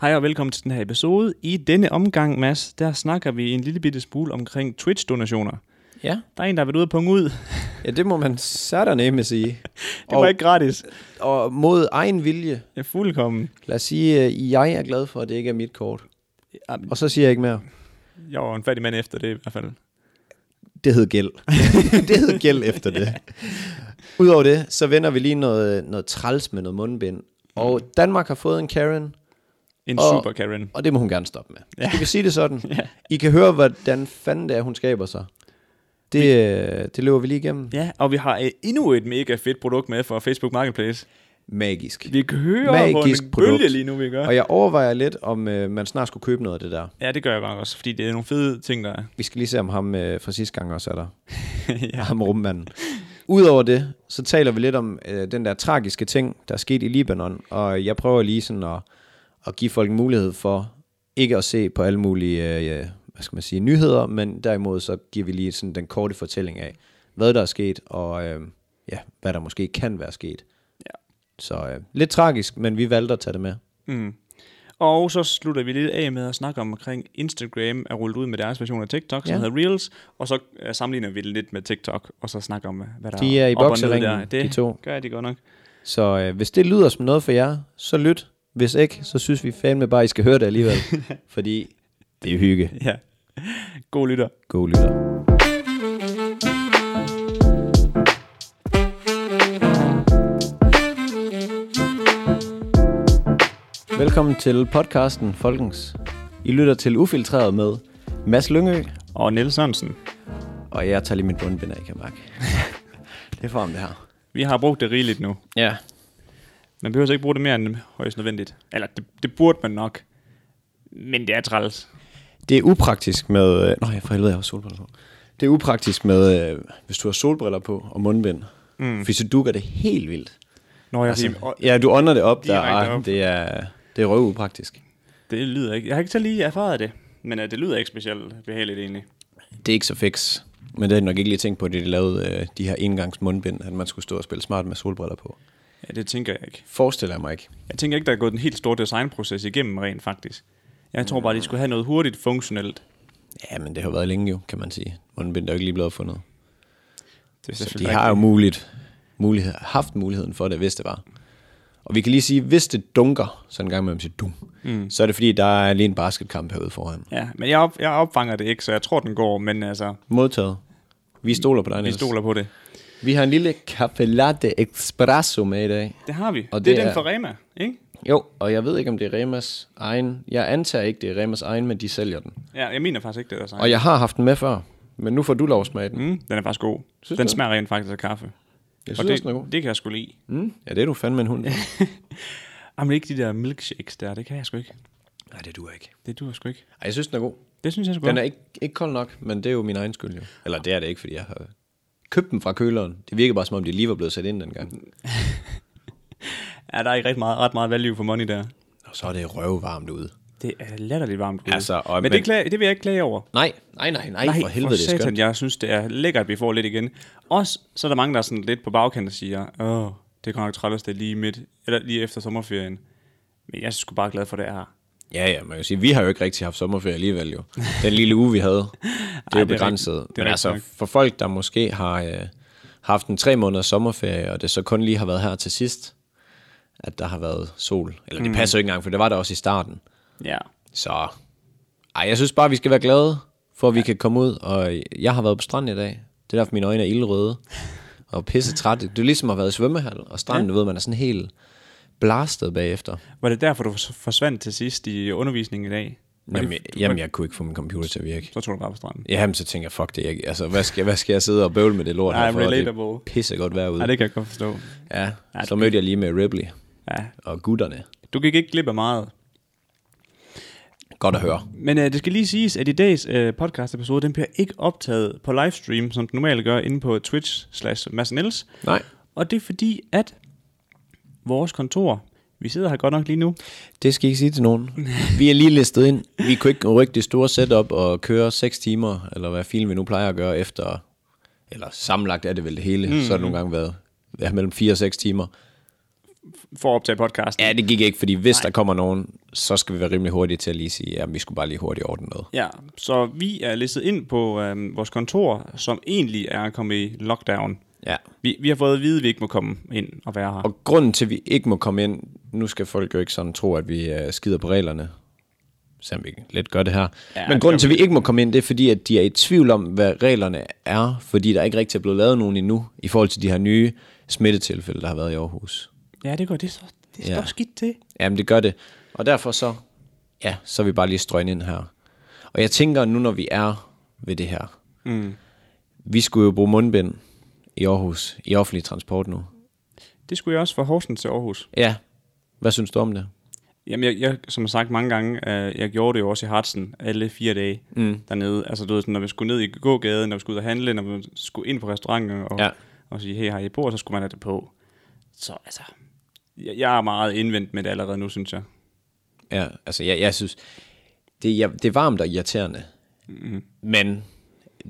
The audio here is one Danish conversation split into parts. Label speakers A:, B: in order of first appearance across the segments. A: Hej og velkommen til den her episode. I denne omgang, Mads, der snakker vi en lille bitte smule omkring Twitch-donationer.
B: Ja.
A: Der er en, der har været ude og punge ud. Det
B: ja, det må man særdanemme sige.
A: var
B: Og-
A: ikke gratis.
B: Og mod egen vilje.
A: Ja, fuldkommen.
B: Lad os sige, at jeg er glad for, at det ikke er mit kort.
A: Jamen,
B: Og så siger jeg ikke mere.
A: Jeg var en fattig mand efter det i hvert fald.
B: Det hed gæld. det hed gæld efter det. Udover det, så vender vi lige noget, noget træls med noget mundbind. Og Danmark har fået en Karen,
A: En
B: Og-
A: super Karen.
B: og det må hun gerne stoppe med. Ja.
A: Ja.
B: Skal vi sige det sådan?
A: Ja.
B: I kan høre, hvordan fanden det er, hun skaber sig. Det, øh, det løber vi lige igennem.
A: Ja, og vi har øh, endnu et mega fedt produkt med fra Facebook Marketplace.
B: Magisk.
A: Vi kører
B: Magisk
A: på en
B: produkt.
A: bølge lige nu, vi gør.
B: Og jeg overvejer lidt, om øh, man snart skulle købe noget af det der.
A: Ja, det gør jeg godt også, fordi det er nogle fede ting, der er.
B: Vi skal lige se, om ham øh, fra sidste gang også er der.
A: ja.
B: ham rummanden. Udover det, så taler vi lidt om øh, den der tragiske ting, der er sket i Libanon, og jeg prøver lige sådan at, at give folk en mulighed for ikke at se på alle mulige øh, øh, hvad skal man sige, nyheder, men derimod så giver vi lige sådan den korte fortælling af, hvad der er sket, og øh, ja, hvad der måske kan være sket.
A: Ja.
B: Så øh, lidt tragisk, men vi valgte at tage det med.
A: Mm. Og så slutter vi lidt af med at snakke om, omkring Instagram er rullet ud med deres version af TikTok, som
B: Ja.
A: hedder Reels, og så øh, sammenligner vi det lidt med TikTok, og så snakker om, øh, hvad der
B: De er i
A: op og ned
B: bokseringen,
A: der. Det
B: de to.
A: gør de godt nok.
B: Så øh, hvis det lyder som noget for jer, så lyt. Hvis ikke, så synes vi fandme bare, I skal høre det alligevel, fordi det er hygge.
A: Ja. God lytter.
B: God lytter. Velkommen til podcasten Folkens. I lytter til Ufiltreret med Mads Lyngø,
A: Og Niels Sørensen.
B: og jeg tager lige min bundbind af, kan jeg mærke. det er for ham, det her.
A: Vi har brugt det rigeligt nu.
B: Ja.
A: Man behøver så ikke bruge det mere end højst nødvendigt. Eller det, det burde man nok. Men det er træls.
B: Det er upraktisk med... Øh, nej, for helvede, jeg har solbriller på. Det er upraktisk med, øh, hvis du har solbriller på og mundbind. Mm. Fordi så dukker det helt vildt.
A: Når jeg altså,
B: Altså, ja, du ånder det op der.
A: Direkte
B: Ej,
A: op.
B: Det er, det er røvupraktisk.
A: det lyder ikke. Jeg har ikke så lige erfaret det, men uh, det lyder ikke specielt behageligt egentlig.
B: Det er ikke så fix. Men det havde jeg nok ikke lige tænkt på, at de lavede øh, de her engangs mundbind, at man skulle stå og spille smart med solbriller på.
A: Ja, det tænker jeg ikke.
B: Forestiller jeg mig ikke.
A: Jeg tænker ikke, der er gået en helt stor designproces igennem rent faktisk. Jeg tror bare, de skulle have noget hurtigt funktionelt.
B: Ja, men det har været længe jo, kan man sige. Mundbind er jo ikke lige blevet fundet.
A: Det er
B: Så Altså, de har jo muligt, mulighed, haft muligheden for det, hvis det var. Og vi kan lige sige, hvis det dunker, så en gang imellem siger dum, mm. så er det fordi, der er lige en basketkamp herude foran.
A: Ja, men jeg, op, jeg opfanger det ikke, så jeg tror, den går, men altså,
B: Modtaget. Vi stoler på dig,
A: vi
B: Niels.
A: stoler på det.
B: Vi har en lille caffè latte espresso med i dag.
A: Det har vi.
B: Og
A: Og det, det
B: det
A: er den
B: er-
A: fra Rema, ikke?
B: Jo, og jeg ved ikke, om det er Remas egen. Jeg antager ikke, det er Remas egen, men de sælger den.
A: Ja, jeg mener faktisk ikke, det er design.
B: Og jeg har haft den med før, men nu får du lov at smage den.
A: Mm, den er faktisk god.
B: Synes
A: den
B: du?
A: smager rent faktisk af kaffe.
B: Jeg
A: og
B: synes,
A: det,
B: også, den er god.
A: det kan jeg sgu lide.
B: Mm. Ja, det er du fandme en hund. Nej,
A: Jamen Ah, ikke de der milkshakes der, det kan jeg sgu ikke.
B: det duer ikke.
A: Det duer sgu ikke.
B: Ej, jeg synes, den er god.
A: Det synes jeg sgu
B: Den
A: godt.
B: er ikke, ikke kold nok, men det er jo min egen skyld jo. Eller det er det ikke, fordi jeg har købt den fra køleren. Det virker bare, som om de lige var blevet sat ind dengang.
A: Ja, der er ikke ret meget, ret meget value for money der.
B: Og så er det røvvarmt ude.
A: Det er latterligt varmt ude.
B: Altså,
A: men,
B: og-
A: men
B: men-
A: det, klage, det vil jeg ikke klage over.
B: Nej, nej, nej, nej,
A: Nej,
B: for helvede, det er
A: satan,
B: skønt.
A: jeg synes, det er lækkert, at vi får lidt igen. Også, så er der mange, der er sådan lidt på bagkanten og siger, åh, det kan nok træls, det er lige midt, eller lige efter sommerferien. Men jeg er sgu bare glad for, det er her.
B: Ja, ja, man kan sige, vi har jo ikke rigtig haft sommerferie alligevel jo. Den lille uge, vi havde, det er
A: er
B: jo
A: rigtigt. Det er
B: begrænset. Men
A: rigtigt
B: altså,
A: nok.
B: for folk, der måske har øh, haft en tre måneders sommerferie, og det så kun lige har været her til sidst, at der har været sol. Eller det passer jo ikke engang, for det var der også i starten.
A: Ja.
B: Så, ej, jeg synes bare, vi skal være glade, for at vi kan komme ud. Og jeg har været på stranden i dag. Det er derfor, mine øjne er ildrøde og pisse træt. Det er ligesom at have været i svømmehal, og stranden, ja. du ved, man er sådan helt blastet bagefter.
A: Var det derfor, du fors- forsvandt til sidst i undervisningen i dag? Var
B: Jamen,
A: det,
B: jeg, jamen, jeg kunne ikke få min computer til at virke.
A: så tog du bare på stranden.
B: Jamen, så tænker jeg, fuck det, jeg, altså, hvad skal, hvad skal jeg sidde og bøvle med det lort
A: Nej,
B: her for?
A: relatable.
B: Det pisse godt vejr ude.
A: Nej, det kan jeg godt forstå.
B: Ja, så mødte jeg lige med Ripley
A: Ja.
B: og gutterne.
A: Du gik ikke glip af meget.
B: Godt at høre.
A: Men øh, det skal lige siges, at i dags øh, podcast-episode, den bliver ikke optaget på livestream, som den normalt gør, inde på Twitch slash Mads og Niels.
B: Nej,
A: Og det er fordi, at vores kontor, vi sidder her godt nok lige nu,
B: det skal I ikke sige til nogen. Vi er lige listet ind. Vi kunne ikke rykke det store setup og køre 6 timer, eller hvad film vi nu plejer at gøre efter, eller sammenlagt er det vel det hele, mm. så har det nogle gange været ja, mellem 4 og 6 timer.
A: for at optage podcasten.
B: Ja, det gik ikke, fordi hvis Nej. der kommer nogen, så skal vi være rimelig hurtige til at lige sige, at vi skulle bare lige hurtigt ordne noget.
A: Ja, så vi er listet ind på øh, vores kontor, som egentlig er kommet i lockdown.
B: Ja.
A: Vi, vi har fået at vide, at vi ikke må komme ind og være her.
B: Og grunden til, at vi ikke må komme ind, nu skal folk jo ikke sådan tro, at vi øh, skider på reglerne, selvom vi let gør det her. Ja, Men grunden til, at vi ikke må komme ind, det er fordi, at de er i tvivl om, hvad reglerne er, fordi der ikke rigtig er blevet lavet nogen endnu, i forhold til de her nye smittetilfælde, der har været i Aarhus.
A: Ja, det går det så. Det står
B: Ja.
A: skidt til.
B: Jamen, det gør det. Og derfor så, ja, så er vi bare lige strøgne ind her. Og jeg tænker nu, når vi er ved det her, mm. vi skulle jo bruge mundbind i Aarhus, i offentlig transport nu.
A: Det skulle jeg også fra Horsens til Aarhus.
B: Ja, hvad synes du om det?
A: Jamen, jeg, jeg som sagt mange gange, øh, jeg gjorde det jo også i Hartsen alle fire dage mm. dernede. Altså, du ved, sådan, når vi skulle ned i gågaden, når vi skulle ud og handle, når vi skulle ind på restauranten og,
B: Ja.
A: ja. og sige, hey, har I bord, så skulle man have det på. Så altså, jeg, jeg er meget indvendt med det allerede nu, synes jeg.
B: Ja, altså jeg, jeg synes, det, jeg, det er varmt og irriterende,
A: Mm-hmm.
B: mm. men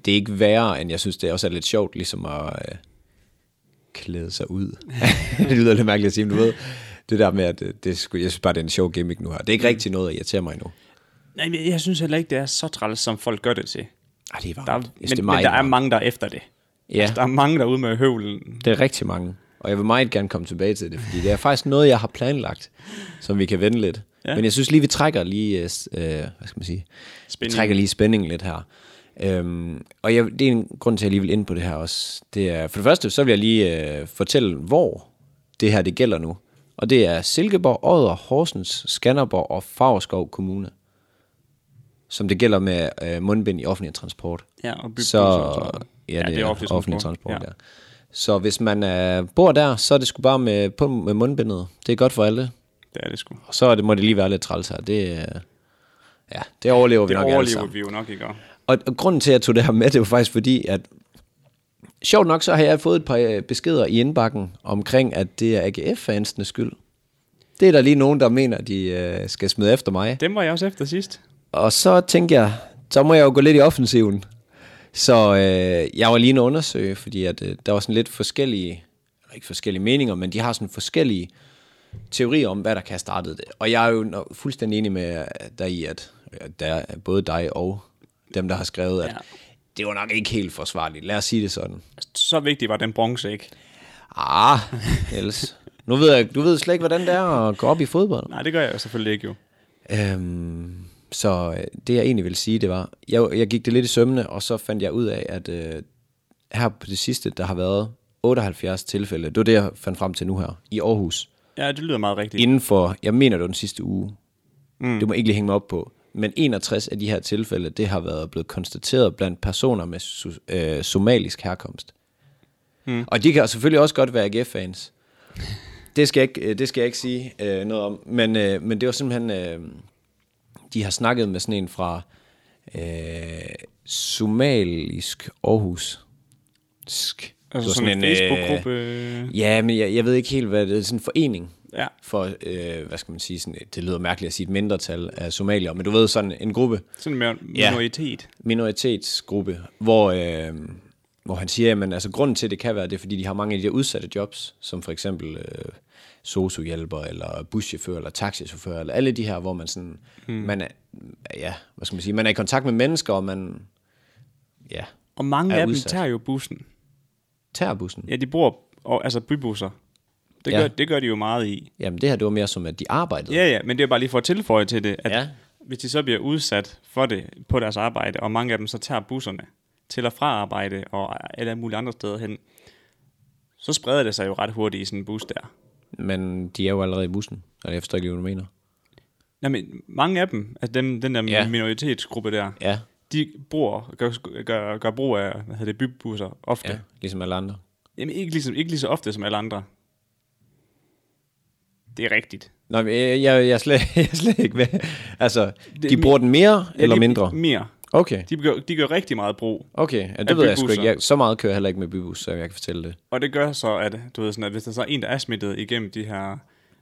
B: det er ikke værre, end jeg synes, det også er lidt sjovt, ligesom at øh, klæde sig ud. det lyder lidt mærkeligt at sige, men du ved, det der med, at øh, det, skulle, jeg synes bare, det er en sjov gimmick nu her. Det er
A: Mm.
B: ikke rigtig noget, der irriterer mig endnu.
A: Nej, jeg, jeg synes heller ikke, det er så træls, som folk gør det til.
B: Ej, det er
A: Der er,
B: varmt.
A: men,
B: Jeg synes, det er
A: men
B: meget
A: der er
B: varmt.
A: mange, der er efter det.
B: Ja,
A: Der er mange, der er ude med høvlen.
B: det er rigtig mange. Og jeg vil meget gerne komme tilbage til det, fordi det er faktisk noget, jeg har planlagt, som vi kan vende lidt. Ja. Men jeg synes lige, vi trækker lige, øh, s- øh, hvad skal man sige,
A: Spænding.
B: Vi trækker lige spændingen lidt her. Øhm, og jeg, det er en grund til, at jeg lige vil ind på det her også. Det er, for det første, så vil jeg lige øh, fortælle, hvor det her det gælder nu. Og det er Silkeborg, Odder, Horsens, Skanderborg og Favreskov Kommune, som det gælder med øh, mundbind i offentlig transport.
A: Ja, og bygge
B: Så, ja, det, ja, det er offentlig, offentlig transport, ja. Så hvis man øh, bor der, så er det sgu bare med, på, med mundbindet. Det er godt for alle.
A: Det er det sgu.
B: Og så er det, må det lige være lidt træls her. Det, øh, ja, det overlever vi
A: Det
B: nok alle sammen.
A: overlever vi jo nok ikke. og-
B: Og, og grunden til, at jeg tog det her med, det var faktisk fordi, at sjovt nok, så har jeg fået et par øh, beskeder i indbakken omkring, at det er AGF-fansenes skyld. Det er der lige nogen, der mener, de øh, skal smide efter mig.
A: Dem var jeg også efter sidst.
B: Og så tænkte jeg, så må jeg jo gå lidt i offensiven. Så øh, jeg var lige inde og undersøge, fordi at, øh, der var sådan lidt forskellige, eller ikke forskellige meninger, men de har sådan forskellige teorier om, hvad der kan have startet det. Og jeg er jo nok fuldstændig enig med øh, dig i, at øh, der er både dig og dem, der har skrevet, at
A: Ja.
B: ja. det var nok ikke helt forsvarligt. Lad os sige det sådan.
A: Så vigtig var den bronze ikke.
B: Ah, ellers. Nu ved jeg, du ved slet ikke, hvordan det er at gå op i fodbold.
A: Nej, det gør jeg jo selvfølgelig ikke jo.
B: Øhm, så øh, det jeg egentlig ville sige, det var, jeg, jeg gik det lidt i sømne, og så fandt jeg ud af, at øh, her på det sidste, der har været 78 tilfælde, det var det, jeg fandt frem til nu her, i Aarhus,
A: Ja, det lyder meget rigtigt.
B: inden for, jeg mener det var den sidste uge, mm. det må jeg ikke lige hænge mig op på, men 61 af de her tilfælde, det har været blevet konstateret blandt personer med su- øh, somalisk herkomst. Mm. Og de kan selvfølgelig også godt være AGF-fans. Det skal jeg ikke, øh, det skal jeg ikke sige øh, noget om, men, øh, men det var simpelthen... Øh, de har snakket med sådan en fra øh, somalisk Aarhus. Sk.
A: Altså
B: Det var
A: sådan en
B: øh,
A: Facebook-gruppe?
B: Ja, men jeg, jeg ved ikke helt, hvad det er. Sådan en forening
A: Ja.
B: for, øh, hvad skal man sige, sådan, et- det lyder mærkeligt at sige et mindretal af somalier, men du ved, sådan en gruppe,
A: Sådan mere
B: Ja.
A: minoritet.
B: minoritetsgruppe, hvor, øh, hvor han siger, at altså, grunden til, at det kan være, det er, fordi de har mange af de her udsatte jobs, som for eksempel øh, sosuhjælper, eller buschauffør, eller taxichauffør, eller alle de her, hvor man sådan, hmm. man er, ja, hvad skal man sige, man er i kontakt med mennesker, og man, ja,
A: Og mange
B: Er
A: af dem
B: udsat.
A: tager jo bussen.
B: tager bussen.
A: Ja, de bruger og, altså bybusser. Det,
B: Ja.
A: ja. gør, det gør de jo meget i.
B: Jamen det her, det var mere som, at de arbejdede.
A: Ja, ja, men det er bare lige for at tilføje til det, at
B: Ja.
A: ja. hvis de så bliver udsat for det på deres arbejde, og mange af dem så tager busserne til og fra arbejde og alle mulige andre steder hen, så spreder det sig jo ret hurtigt i sådan en bus der.
B: Men de er jo allerede i bussen, og jeg forstår ikke, hvad du mener.
A: Nej, men mange af dem, altså dem, den der
B: Ja.
A: ja. minoritetsgruppe der,
B: Ja,
A: de bruger, gør, gør, gør brug af hvad hedder det, bybusser ofte.
B: ja,
A: Ja.
B: ligesom alle andre.
A: Jamen ikke, ligesom, ikke lige så ofte som alle andre. Det er rigtigt.
B: Nå, men øh, jeg, jeg, jeg, er slet, jeg er slet ikke med. Altså, de
A: mi-
B: bruger den mere
A: Ja,
B: eller
A: de-
B: mindre?
A: Mere.
B: Okay,
A: De gør, de gør rigtig meget brug.
B: okay. Ja, det
A: Af
B: ved jeg sgu
A: bybusser.
B: ikke. Jeg, så meget kører jeg heller ikke med bybus, så jeg kan fortælle det.
A: Og det gør så, at, du ved sådan, at hvis der så er en, der er smittet igennem de her,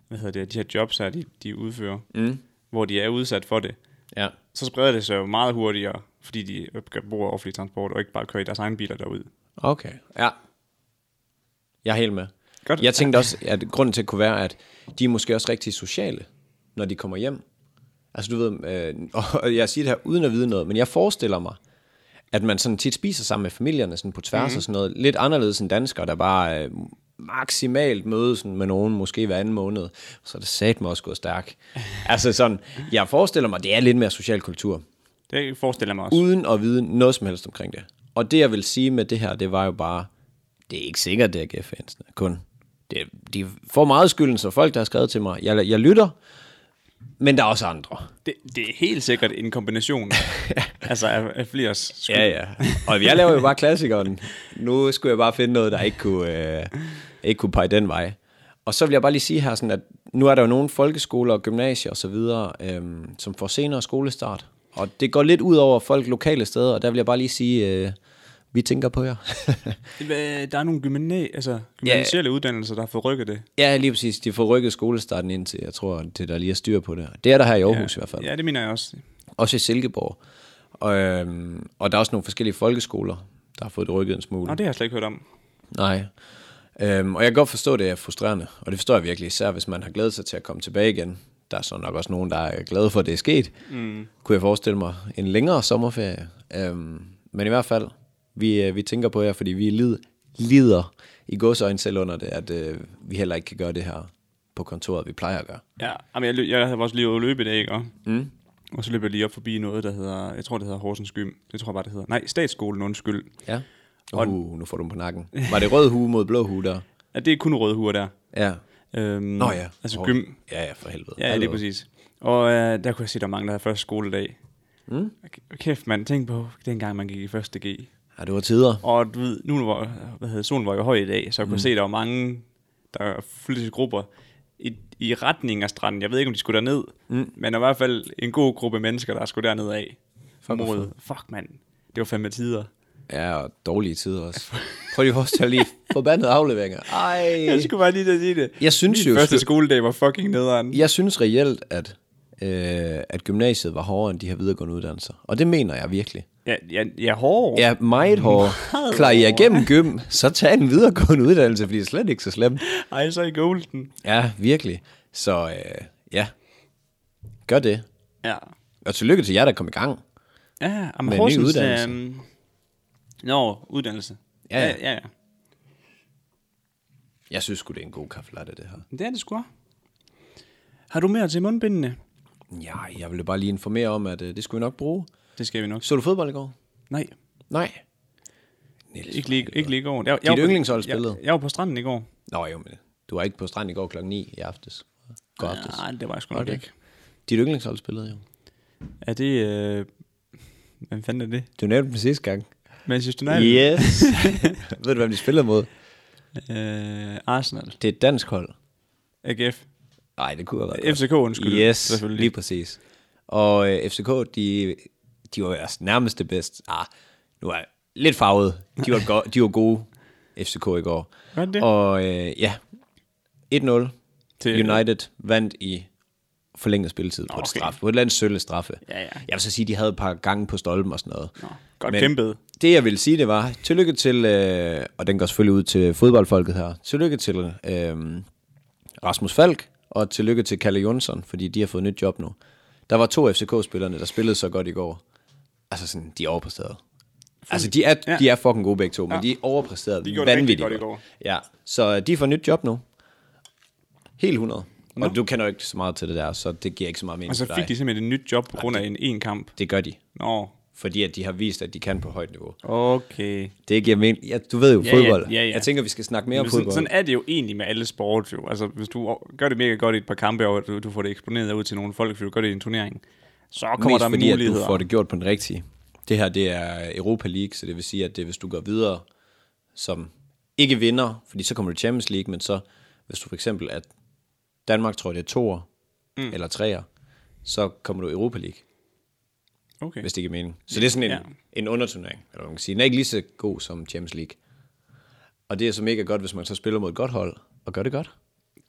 A: hvad hedder det, de her jobs her, de, de udfører, mm. hvor de er udsat for det,
B: Ja.
A: så spreder det sig jo meget hurtigere, fordi de gør brug af offentlig transport, og ikke bare kører i deres egne biler derud.
B: Okay, ja. Jeg er helt med.
A: Godt.
B: Jeg tænkte også, at grunden til kunne være, at de er måske også rigtig sociale, når de kommer hjem. Altså du ved, øh, og jeg siger det her uden at vide noget, men jeg forestiller mig, at man sådan tit spiser sammen med familierne sådan på tværs mm-hmm. og sådan noget. Lidt anderledes end danskere, der bare øh, maksimalt mødes sådan med nogen, måske hver anden måned. Så er det sat mig også gået stærk. altså sådan, jeg forestiller mig, det er lidt mere social kultur.
A: Det forestiller jeg mig også.
B: Uden at vide noget som helst omkring det. Og det jeg vil sige med det her, det var jo bare, det er ikke sikkert, det er GF-fansene kun. Det, de får meget skylden, så folk, der har skrevet til mig, jeg, jeg lytter, men der er også andre.
A: Det, det er helt sikkert en kombination altså af, af flere skud.
B: Ja, ja. Og jeg laver jo bare klassikeren. Nu skulle jeg bare finde noget, der ikke kunne, øh, ikke kunne pege den vej. Og så vil jeg bare lige sige her, sådan at nu er der jo nogle folkeskoler og gymnasier og så videre, øhm, som får senere skolestart. Og det går lidt ud over folk lokale steder, og der vil jeg bare lige sige, øh, vi tænker på jer.
A: Hva- Der er nogle gymnasie, altså, gymnasielle ja. uddannelser, der har fået rykket det.
B: ja, lige præcis. De får rykket skolestarten ind til, jeg tror, til der lige er styr på det. Det er der her i Aarhus ja. i hvert fald.
A: Ja, det mener jeg også.
B: Også i Silkeborg. Og, øhm, og der er også nogle forskellige folkeskoler, der har fået det rykket en smule.
A: Nå, det har jeg slet ikke hørt om.
B: Nej. Øhm, og jeg kan godt forstå, at det er frustrerende, og det forstår jeg virkelig, især hvis man har glædet sig til at komme tilbage igen. Der er så nok også nogen, der er glade for, at det er sket. Mm. Kunne jeg forestille mig en længere sommerferie. Øhm, men i hvert fald, vi, øh, vi tænker på jer, fordi vi lid, lider i godsøjne selv under det, at øh, vi heller ikke kan gøre det her på kontoret, vi plejer at gøre.
A: Ja, men jeg, løb, jeg havde også lige ude at løbe i dag, ikke? Og, mm. og så løb jeg lige op forbi noget, der hedder, jeg tror, det hedder Horsens Gym. Det tror jeg bare, det hedder. Nej, Statsskolen, undskyld.
B: Ja. Uh, nu får du den på nakken. Var det rød hue mod blå hue der?
A: Ja, det er kun røde huer der.
B: Ja.
A: Øhm,
B: Nå ja.
A: Altså
B: Hår-
A: gym.
B: Ja, ja, for helvede.
A: Ja, lige præcis. Og øh, der kunne jeg se, der var mange, der havde første skoledag. Mm. Kæft, man. Tænk på dengang, man gik i første G.
B: Ja, det var tider.
A: Og du ved, nu var, hvad hedder, solen var jo høj i dag, så jeg kunne mm. se, der var mange, der flyttede grupper i, i retning af stranden. Jeg ved ikke, om de skulle derned, mm. men der var i hvert fald en god gruppe mennesker, der skulle derned af. Fuck, mod. Fuck, mand. Det var fandme tider.
B: Ja, og dårlige tider også. Prøv lige at forestille dig lige forbandede afleveringer. Ej.
A: Jeg skulle bare lige til at sige det.
B: Jeg synes
A: Min
B: jo-
A: første skoledag var fucking nederen.
B: Jeg synes reelt, at, øh, at gymnasiet var hårdere end de her videregående uddannelser. Og det mener jeg virkelig.
A: Jeg, jeg, jeg hård.
B: Ja, meget hårdere. Klarer jeg igennem gym, så tag en videregående uddannelse, fordi det er slet ikke så slemt.
A: Ej, så i golden.
B: Ja, virkelig. Så øh, ja, gør det.
A: Ja.
B: Og tillykke til jer, der kom i gang.
A: Ja, om
B: Med en ny
A: Horsens...
B: uddannelse.
A: øhm, Nå, uddannelse.
B: Ja, ja.
A: ja, ja.
B: Jeg synes sgu, det er en god kaffe latte, det her.
A: Det er det sgu. også. Har du mere til mundbindene?
B: Ja, jeg ville bare lige informere om, at øh, det skulle vi nok bruge.
A: Det skal vi nok.
B: Så du fodbold i går?
A: Nej,
B: Nej. Niels,
A: Ikke lige, ikke lige i går. Jeg,
B: Dit
A: var på-
B: yndlingshold spillede.
A: Jeg, jeg var på stranden i går.
B: Nå jo, men du var ikke på stranden i går klokken 9 i aftes. God aftes.
A: Nej, det var jeg sgu nok
B: Okay.
A: ikke.
B: Dit yndlingshold spillede jo.
A: Er det... Øh, hvem fanden er det?
B: Du nævnte dem sidste gang.
A: Manchester United?
B: Yes. Ved du, hvem de spiller mod?
A: Øh, Arsenal?
B: Det er et dansk hold.
A: AGF?
B: Nej, det kunne have været
A: FCK, undskyld.
B: Yes,
A: Selvfølgelig.
B: lige præcis. Og øh, FCK, de, de var deres nærmeste bedst. Ah, nu er jeg lidt farvet. De var, go- de var gode, FCK i går.
A: Var det det?
B: Og øh, ja, 1-0.
A: Til-
B: Til, United vandt i forlænget spilletid på okay.
A: Okay.
B: et straf. På et eller andet sølle straffe.
A: Ja, ja.
B: Jeg vil så sige, de havde et par gange på stolpen og sådan noget.
A: Nå, godt kæmpet.
B: Det jeg ville sige, det var, tillykke til, øh, og den går selvfølgelig ud til fodboldfolket her, tillykke til øh, Rasmus Falk, og tillykke til Kalle Jonsson, fordi de har fået nyt job nu. Der var to FCK-spillerne, der spillede så godt i går. Altså sådan, de overpræsterede. Altså, de er,
A: Ja.
B: de er fucking gode begge to, men de overpræsterede
A: De gjorde det
B: vanvittigt
A: rigtig godt i
B: Ja, så de får nyt job nu. Helt 100. Og du kender jo ikke så meget til det der, så det giver ikke så meget mening
A: Og så
B: for
A: Altså, fik
B: dig.
A: de simpelthen et nyt job på grund af en en kamp.
B: Det gør de,
A: Nå,
B: fordi at de har vist, at de kan på højt niveau.
A: okay.
B: Det giver mening. Ja, du ved jo
A: Ja,
B: fodbold.
A: ja, ja, ja.
B: Jeg tænker, vi skal snakke mere om
A: Men sådan,
B: fodbold.
A: sådan er det jo egentlig med alle sport jo. Altså, hvis du o- gør det mega godt i et par kampe, og du, du får det eksponeret ud til nogle folk, hvis du gør det i en turnering, så kommer
B: Mest
A: der
B: fordi,
A: muligheder.
B: at du får det gjort på den rigtige. Det her, det er Europa League, så det vil sige, at det, hvis du går videre som ikke vinder, fordi så kommer du i Champions League, men så hvis du for eksempel at Danmark tror, jeg, det er toer mm. eller treer, så kommer du i Europa League,
A: Okay.
B: hvis det giver mening. Så det er sådan en,
A: Ja.
B: ja. en underturnering, eller hvad man kan sige. Den er ikke lige så god som Champions League. Og det er så mega godt, hvis man så spiller mod et godt hold, og gør det godt.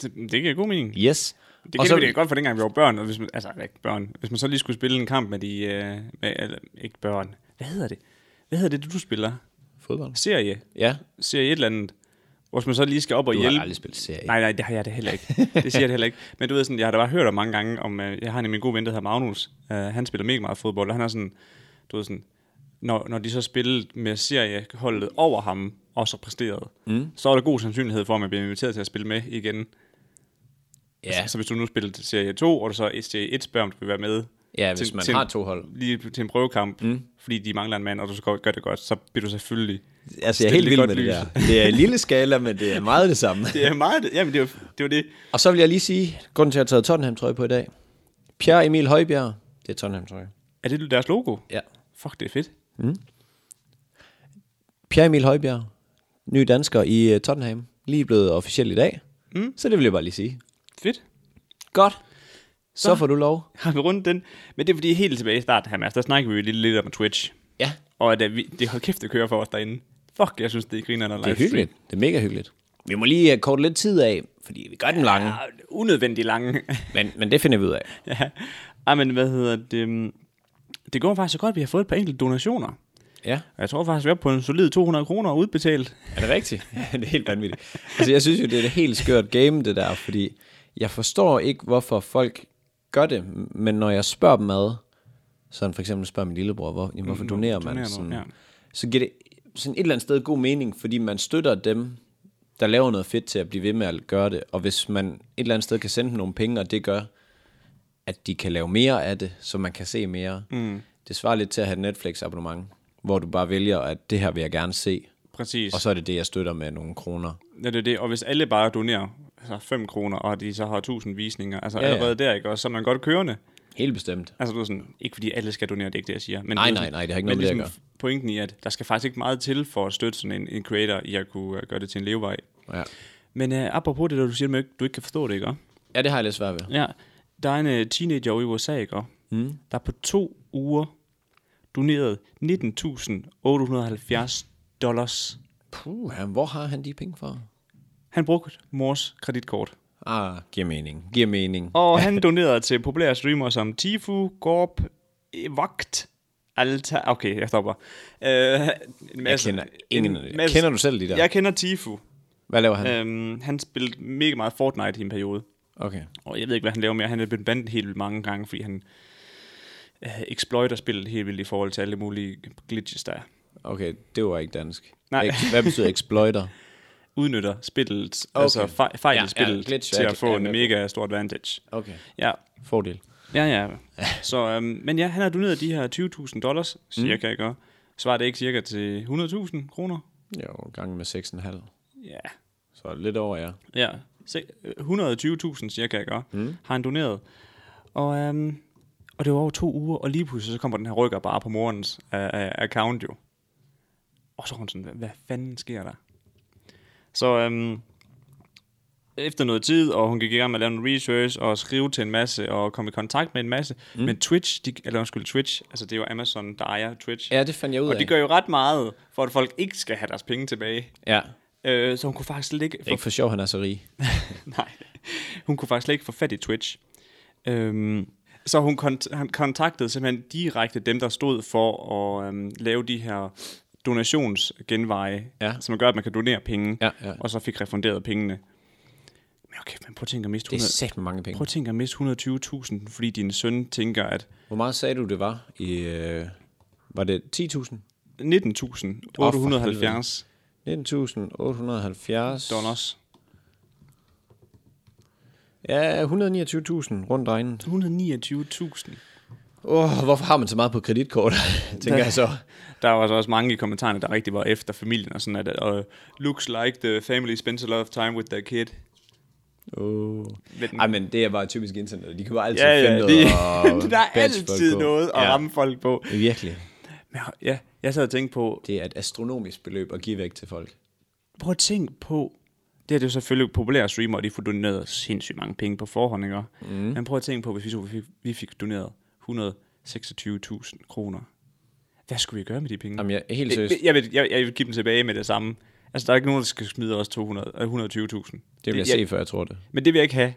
A: Det, det giver god mening.
B: Yes.
A: Det kan så... det er godt for dengang, vi var børn. Og hvis man, altså, ikke børn. Hvis man så lige skulle spille en kamp med de... Øh, med, eller, ikke børn. Hvad hedder det? Hvad hedder det, du spiller?
B: Fodbold.
A: Serie.
B: Ja,
A: Serie et eller andet. Hvor man så lige skal op og
B: Du har
A: hjælpe.
B: aldrig spillet serie.
A: Nej, nej, det har jeg det heller ikke. Det siger jeg det heller ikke. Men du ved sådan, jeg har da bare hørt om mange gange, om, øh, jeg har nemlig en god ven, der hedder Magnus. Øh, han spiller mega meget fodbold, og han er sådan, du ved sådan, når, når de så spillede med serieholdet over ham, og så præsterede, mm. så er der god sandsynlighed for, at man bliver inviteret til at spille med igen.
B: Ja,
A: Så,
B: altså,
A: så hvis du nu spiller til serie 2, og du så serie 1 spørger, om du vil være med.
B: Ja, hvis man har to hold.
A: Lige til en prøvekamp, mm. fordi de mangler en mand, og du så gør gør det godt, så bliver du selvfølgelig...
B: altså jeg er
A: stillet
B: helt
A: i
B: vild
A: godt
B: med det
A: lys.
B: der. Det er en lille skala, men det er meget det samme.
A: Det er meget... Jamen, det var det. Var det.
B: Og så vil jeg lige sige, grunden til, at jeg har taget Tottenham-trøje på i dag. Pierre Emil Højbjerg, det er Tottenham-trøje.
A: Er det deres logo?
B: Ja.
A: Fuck, det er fedt.
B: Pierre Emil Højbjerg, ny dansker i øh, Tottenham, lige blevet officiel i dag. Mm. Så det vil jeg bare lige sige.
A: Fedt.
B: Godt. Så, så får du lov.
A: Har vi rundt den? Men det er fordi, helt tilbage i starten her, Mads, der snakkede vi jo lidt, lidt om Twitch.
B: Ja,
A: Og at, øh, vi, det hold kæft, det kører for os derinde. Fuck, jeg synes, det er griner, når
B: det er hyggeligt. Det er mega hyggeligt. Vi må lige øh, korte lidt tid af, fordi vi gør den lange.
A: Ja, unødvendigt Ah, lange.
B: Men, men det finder vi ud af.
A: ja. Ej, men hvad hedder det? Øhm, Det går faktisk så godt, at vi har fået et par enkelte donationer.
B: Ja.
A: Og jeg tror faktisk, vi er oppe på en solid 200 kroner udbetalt.
B: Er det rigtigt? det er helt vanvittigt. Altså, jeg synes jo, det er et helt skørt game, det der, fordi jeg forstår ikke, hvorfor folk gør det, men når jeg spørger dem ad, sådan for eksempel spørger min lillebror, hvor, jamen, Mm, hvorfor donerer
A: donerer
B: man,
A: du?
B: sådan,
A: Ja.
B: så giver det sådan et eller andet sted god mening, fordi man støtter dem, der laver noget fedt til at blive ved med at gøre det, og hvis man et eller andet sted kan sende dem nogle penge, og det gør, at de kan lave mere af det, så man kan se mere. Mm. Det svarer lidt til at have et Netflix-abonnement, hvor du bare vælger, at det her vil jeg gerne se,
A: Præcis.
B: og så er det det, jeg støtter med nogle kroner.
A: Ja, det er det. Og hvis alle bare donerer altså 5 kroner, og de så har 1000 visninger, altså
B: ja.
A: ja, allerede der, ikke? Og så er man godt kørende.
B: Helt bestemt.
A: Altså, du er sådan, ikke fordi alle skal donere, det er ikke det, jeg siger. Men
B: Nej,
A: du er
B: nej,
A: sådan-
B: nej, det har ikke
A: men
B: noget med det at
A: ligesom pointen i, at der skal faktisk ikke meget til for at støtte sådan en, en creator, i at kunne uh, gøre det til en levevej.
B: Ja.
A: Men uh, apropos det, der du siger, med, du ikke kan forstå det, ikke? også?
B: ja, det har jeg lidt svært ved.
A: Ja, der er en uh, teenager i USA, ikke? Mm. der på to uger donerede 19.870 dollars.
B: Puh, ja, hvor har han de penge fra?
A: Han brugte mors kreditkort.
B: Ah, giver mening. Giver mening.
A: Og han donerede til populære streamere som Tifu, Gorp, eh, Vogt, Alta... Okay, jeg stopper. Uh, en masse,
B: kender ingen
A: en
B: af de der. Kender du selv de der?
A: Jeg kender Tifu.
B: Hvad laver han?
A: Um, han spillede mega meget Fortnite i en periode.
B: Okay.
A: Og jeg ved ikke, hvad han laver mere. Han er blevet bandet helt vildt mange gange, fordi han uh, exploiter spillet helt vildt i forhold til alle mulige glitches, der er.
B: Okay, det var ikke dansk.
A: Nej.
B: Ex- Hvad betyder exploiter?
A: Udnytter spillet,
B: Okay.
A: okay. altså fej- fejl
B: Ja,
A: i
B: ja,
A: spillet,
B: glitch,
A: til
B: ja,
A: at få
B: ja,
A: en
B: ja.
A: mega stor advantage.
B: Okay.
A: Ja,
B: Fordel.
A: Ja, ja. Så, øhm, men ja, han har doneret de her 20.000 dollars, cirka, mm. ikke? også? Svarer det ikke cirka til 100.000 kroner?
B: Jo, gange med 6,5.
A: Ja.
B: Så lidt over, ja.
A: Ja. Se- øh, 120.000 cirka, ikke? også?
B: Mm.
A: Har han doneret. Og, øhm, og det var over to uger, og lige pludselig så kommer den her rykker bare på morens øh, øh, account jo. Og så er hun sådan, "Hvad- hvad fanden sker der? Så øhm, efter noget tid, og hun gik i gang med at lave noget research, og skrive til en masse, og komme i kontakt med en masse. Mm. Men Twitch, de, eller undskyld, Twitch, altså det er jo Amazon, der ejer Twitch.
B: Ja, det fandt jeg ud
A: og
B: af.
A: de gør jo ret meget, for at folk ikke skal have deres penge tilbage.
B: Ja.
A: Øh, så hun kunne faktisk slet ikke...
B: Det er ikke for sjov, han er så rig.
A: Nej, hun kunne faktisk slet ikke få fat i Twitch. Øhm, så hun kont- han kontaktede simpelthen direkte dem, der stod for at øhm, lave de her donationsgenveje,
B: Ja.
A: som gør, at man kan donere penge,
B: Ja, ja.
A: og så fik refunderet pengene. Men okay, men prøv at tænke at miste,
B: Det
A: 100,
B: er sæt med mange penge.
A: prøv at tænke at miste 120.000, fordi din søn tænker, at
B: Hvor meget sagde du, det var? I, øh, var det 10.000?
A: 19.870
B: 19.870
A: dollars.
B: Ja, 129.000 rundt regnet.
A: 129.000.
B: Åh, oh, hvorfor har man så meget på kreditkort, tænker jeg så.
A: Der var så også mange i kommentarerne, der rigtig var efter familien og sådan, at uh, looks like the family spends a lot of time with their kid.
B: Oh.
A: Med den-
B: Ej, men det er bare typisk internet. De kan bare altid
A: Ja,
B: finde
A: ja,
B: noget
A: de,
B: at
A: der er
B: bashe folk
A: altid
B: på.
A: noget at
B: ja.
A: ramme folk på.
B: Virkelig.
A: Men jeg- ja, jeg sad og tænkte på,
B: Det er et astronomisk beløb at give væk til folk.
A: prøv at tænke på, det her det er jo selvfølgelig populære streamere, og de får doneret sindssygt mange penge på forhånd, ikke? Mm. Men prøv at tænke på, hvis vi, så, vi, fik, vi fik doneret 126.000 kroner. Hvad skulle vi gøre med de penge?
B: Jamen, jeg er helt seriøst.
A: jeg, jeg, vil, jeg, jeg vil give dem tilbage med det samme. Altså, der er ikke nogen, der skal smide os 200, øh, 120.000.
B: Det vil jeg se, før jeg tror det.
A: Men det vil jeg ikke have.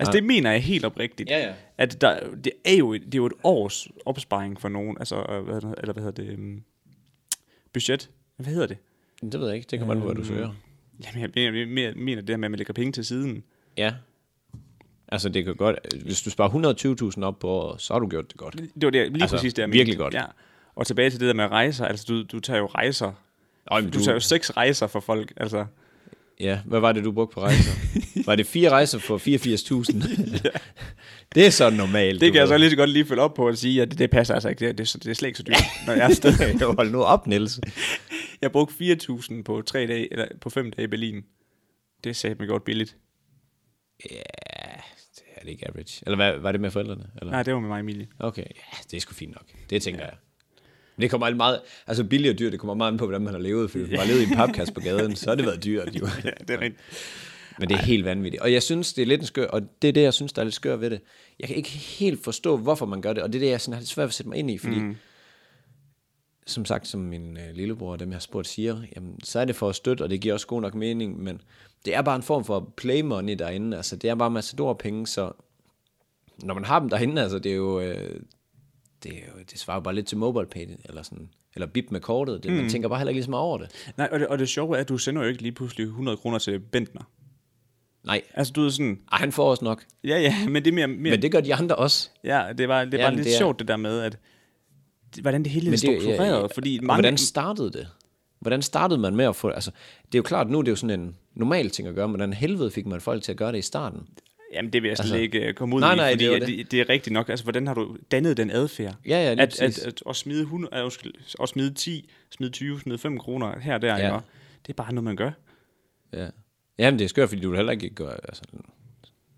A: Altså, det mener jeg helt oprigtigt.
B: Ja, ja.
A: At der, det, er jo, et- det er jo et års opsparing for nogen, altså, øh, hvad, hedder- eller hvad hedder det, um, budget. Hvad hedder det? Øh.
B: Men Det ved jeg ikke. Det kommer an på, hvad du søger.
A: Jamen, jeg mener, jeg mener- mener det her med, at man lægger penge til siden.
B: Ja. Altså, det kan godt... Hvis du sparer 120.000 op på året, så har du gjort det godt.
A: Det var det, jeg- lige
B: Altså,
A: altså, præcis det, jeg mente.
B: virkelig godt.
A: Ja. Og tilbage til det der med rejser. Altså, du, du tager jo rejser.
B: Øj, men
A: Du, du tager jo seks rejser for folk. Altså,
B: Ja, hvad var det, du brugte på rejser? var det fire rejser for 84.000? det er sådan normalt.
A: det kan jeg så
B: lige...
A: lige så godt lige følge op på og sige, at det, det passer altså ikke. Det, det, det er slet ikke så dyrt, når jeg er afsted.
B: Hold nu op, Niels.
A: Jeg brugte 4.000 på, tre dage, eller på fem dage i Berlin. Det sagde mig godt billigt.
B: Ja, det er det ikke average. Eller hvad, var det med forældrene? Eller?
A: Nej, det var med mig og Emilie.
B: Okay, ja, det er sgu fint nok. Det tænker ja. jeg. Men det kommer alt meget... Altså billig og dyr, det kommer meget an på, hvordan man har levet. For hvis man har levet i en papkasse på gaden, så har det været dyrt jo.
A: Ja, det er rigtigt.
B: Men det er helt vanvittigt. Og jeg synes, det er lidt en skør, og det er det, jeg synes, der er lidt skør ved det. Jeg kan ikke helt forstå, hvorfor man gør det, og det er det, jeg sådan har lidt svært ved at sætte mig ind i, fordi mm. som sagt, som min øh, lillebror og dem, jeg har spurgt, siger, jamen, så er det for at støtte, og det giver også god nok mening, men det er bare en form for play money derinde, altså det er bare massador penge, så når man har dem derinde, altså det er jo, øh, det, er jo, det svarer jo bare lidt til mobile pay, eller sådan, eller bip med kortet, det, mm. man tænker bare heller ikke lige så meget over det.
A: Nej, og det, og det sjove er, at du sender jo ikke lige pludselig 100 kroner til Bentner.
B: Nej,
A: Altså, du er sådan,
B: Ej, han får også nok,
A: ja, ja, men det er mere, mere
B: men det gør de andre også.
A: Ja, det var, det
B: Ja,
A: var
B: men
A: lidt
B: det er-
A: sjovt det der med, at det- hvordan det hele er struktureret, ja, ja. fordi
B: og
A: mange...
B: Hvordan startede det? Hvordan startede man med at få... Altså, det er jo klart, nu er det jo sådan en normal ting at gøre, men hvordan helvede fik man folk til at gøre det i starten?
A: Jamen, det vil jeg slet altså, ikke øh, komme ud
B: nej,
A: i,
B: nej,
A: fordi
B: det er jo
A: at
B: det.
A: det er rigtigt nok. Altså, hvordan har du dannet den adfærd?
B: Ja, ja, lige
A: at, at,
B: præcis.
A: at, at, smide 100, at, undskyld, at smide 10, smide 20, smide 5 kroner her og der,
B: Ja.
A: ja. det er bare noget, man gør.
B: Ja. Jamen, det er skørt, fordi du vil heller ikke gøre... Altså,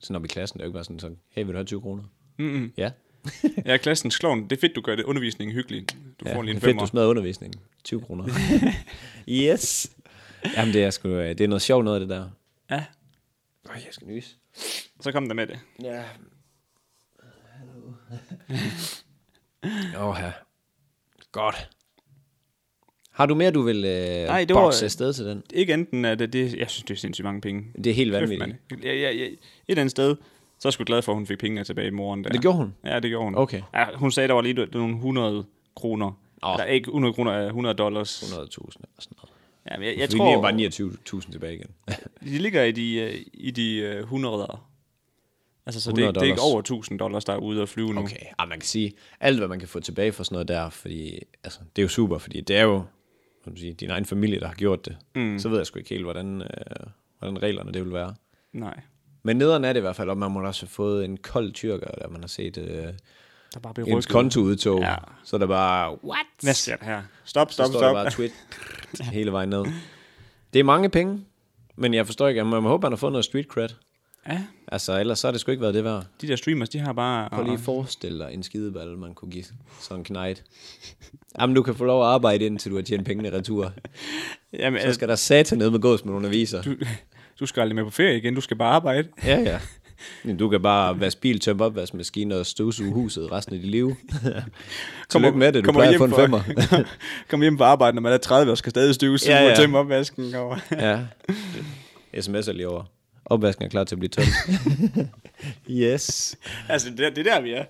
B: sådan op i klassen, det er jo ikke bare sådan, sådan hey, vil du have 20 kroner? Mm-hmm. Ja,
A: Ja, klassens klovn, det er fedt, du gør det. Undervisningen hyggelig. Du
B: ja
A: får lige
B: det er
A: en
B: fedt, du
A: femmer.
B: smadrer undervisningen. 20 kroner. yes! Jamen, det er sgu... øh, Det er noget sjovt noget, det der.
A: Ja,
B: Øj, jeg skal nyse.
A: så kom der med det.
B: Ja. Hallo. Åh, ja. Godt. Har du mere, du vil øh,
A: Nej,
B: Nej,
A: det
B: det
A: var-
B: bokse afsted til den?
A: Ikke enten, at det, det, jeg synes, det er sindssygt mange penge.
B: Det er helt
A: Kæft,
B: vanvittigt.
A: mand. Ja, ja, ja. Et eller andet sted, så er jeg sgu glad for, at hun fik pengene tilbage i morgen. Der.
B: Det gjorde hun?
A: Ja, det gjorde hun.
B: Okay.
A: Ja, hun sagde, der var lige det var nogle 100 kroner.
B: Nå.
A: Oh. Eller ikke 100 kroner, øh, 100 dollars.
B: 100.000 eller sådan noget.
A: Ja, men jeg, jeg
B: Vi tror...
A: tror,
B: bare 29.000 tilbage igen.
A: de ligger i de, øh, i de øh, 100. Altså, så
B: 100
A: det, det er ikke
B: dollars.
A: over 1000 dollars, der er ude at flyve nu.
B: Okay, ah, man kan sige, alt hvad man kan få tilbage for sådan noget der, fordi altså, det er jo super, fordi det er jo hvad man siger, din egen familie, der har gjort det. Mm. Så ved jeg sgu ikke helt, hvordan, øh, hvordan reglerne det vil være.
A: Nej,
B: Men nederen er det i hvert fald, og man må da også have fået en kold tyrker, eller man har set øh,
A: der er bare blevet
B: ens
A: rykket.
B: kontoudtog, ja.
A: Ja.
B: så er der bare, what?
A: Hvad sker der her? Stop,
B: Så
A: stop,
B: står der
A: stop.
B: bare tweet hele vejen ned. Det er mange penge, men jeg forstår ikke, man håber, han har fået noget street cred.
A: Ja,
B: Altså, ellers så har det sgu ikke været det værd. Ah.
A: de der streamers, de har bare...
B: Prøv lige at forestille dig en skideball, man kunne give sådan en knight. Jamen, du kan få lov at arbejde, indtil du har tjent pengene retur.
A: Jamen,
B: Så
A: altså,
B: skal der satan ned med gås med nogle aviser.
A: du, du skal aldrig med på ferie igen, du skal bare arbejde.
B: Ja, ja. Men Du kan bare vaske bil, tømme opvaskemaskinen og støvsuge huset resten af dit liv. Kom op med det, du
A: kommer
B: plejer
A: hjem
B: at få en
A: fra-
B: femmer.
A: Kom hjem på arbejde, når man er 30 og skal stadig støve, så
B: Ja,
A: ja,
B: ja.
A: ja. tømme opvasken. Og...
B: Ja. SMS'er lige over. Opvasken er klar til at blive tømt. yes.
A: altså, det, er- det er der, vi er.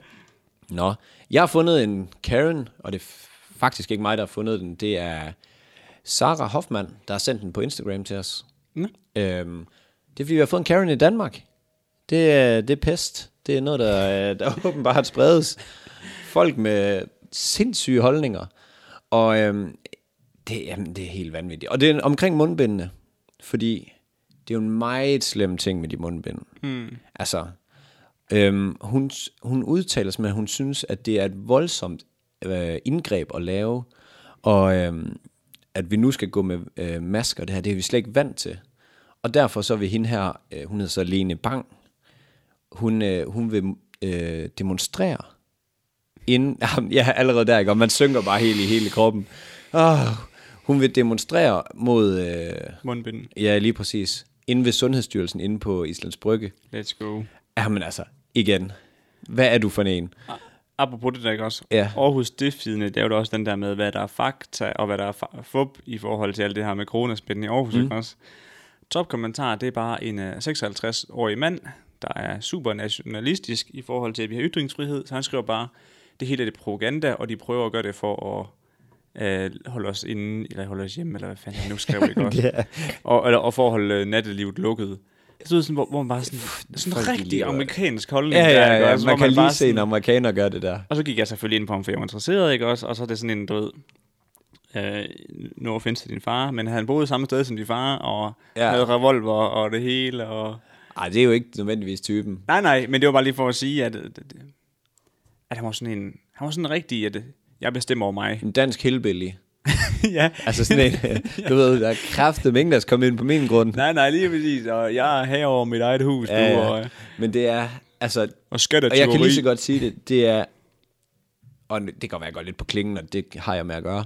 B: Nå, jeg har fundet en Karen, og det er f- faktisk ikke mig, der har fundet den. Det er Sarah Hoffmann, der har sendt den på Instagram til os.
A: Nå.
B: Øhm, det er fordi, vi har fået en Karen i Danmark. Det er, det er pest. Det er noget, der, øh, der åbenbart spredes. Folk med sindssyge holdninger. Og øhm, det, jamen, det er helt vanvittigt. Og det er omkring mundbindene. Fordi det er jo en meget slem ting med de mundbind. Mm. Altså, øhm, hun, hun udtaler sig med, at hun synes, at det er et voldsomt øh, indgreb at lave. Og øhm, at vi nu skal gå med øh, masker, det her, det er vi slet ikke vant til. Og derfor så vil hende her, øh, hun hedder så Lene Bang, hun, øh, hun vil øh, demonstrere inden, Jamen, ja, allerede der, ikke? Og man synker bare helt i hele kroppen. Oh, hun vil demonstrere mod, øh,
A: Mundbind.
B: ja, lige præcis, inde ved Sundhedsstyrelsen, inde på Islands Brygge.
A: Let's go.
B: Jamen altså, igen, hvad er du for en?
A: Apropos det der, ikke også?
B: Ja.
A: Aarhus Stiftstidende, det er jo da også den der med, hvad der er fakta, og hvad der er fa- fup i forhold til alt det her med coronaspænden i Aarhus, mm. ikke også? Topkommentar, det er bare en øh, 56-årig mand, der er super nationalistisk i forhold til, at vi har ytringsfrihed, så han skriver bare, det hele er det propaganda, og de prøver at gøre det for at øh, holde os inde, eller holde os hjemme, eller hvad fanden han nu skrev det godt. yeah. og, eller, og for at holde øh, nattelivet lukket. Jeg synes, sådan, hvor, hvor man bare sådan, sådan en
B: Folk, de
A: rigtig
B: lever.
A: amerikansk holdning.
B: Ja,
A: der,
B: ja,
A: ikke
B: ja.
A: også? Hvor
B: Man kan
A: bare
B: lige se
A: sådan-
B: en amerikaner gøre det der.
A: Og så gik jeg selvfølgelig ind på ham, for jeg var interesseret, ikke også? Og så er det sådan en, du ved, øh, no offense til din far, men han boede samme sted som din far, og ja.
B: Ja.
A: havde revolver og det hele, og...
B: Ej, det er jo ikke nødvendigvis typen.
A: Nej, nej, men det var bare lige for at sige, at, at, at han var sådan en... Han var sådan en rigtig, at øh, jeg bestemmer over mig.
B: En dansk hillbilly.
A: ja.
B: Altså sådan en, du ved, der er kraftet mængder, der kommer ind på min grund.
A: Nej, nej, lige præcis. Og jeg er her over mit eget hus, ja,
B: Ja,
A: ja.
B: ja.
A: og,
B: Men det er, altså,
A: og skat og
B: og jeg kan lige så godt sige det, det er, og det kan godt være, jeg går lidt på klingen, og det har jeg med at gøre,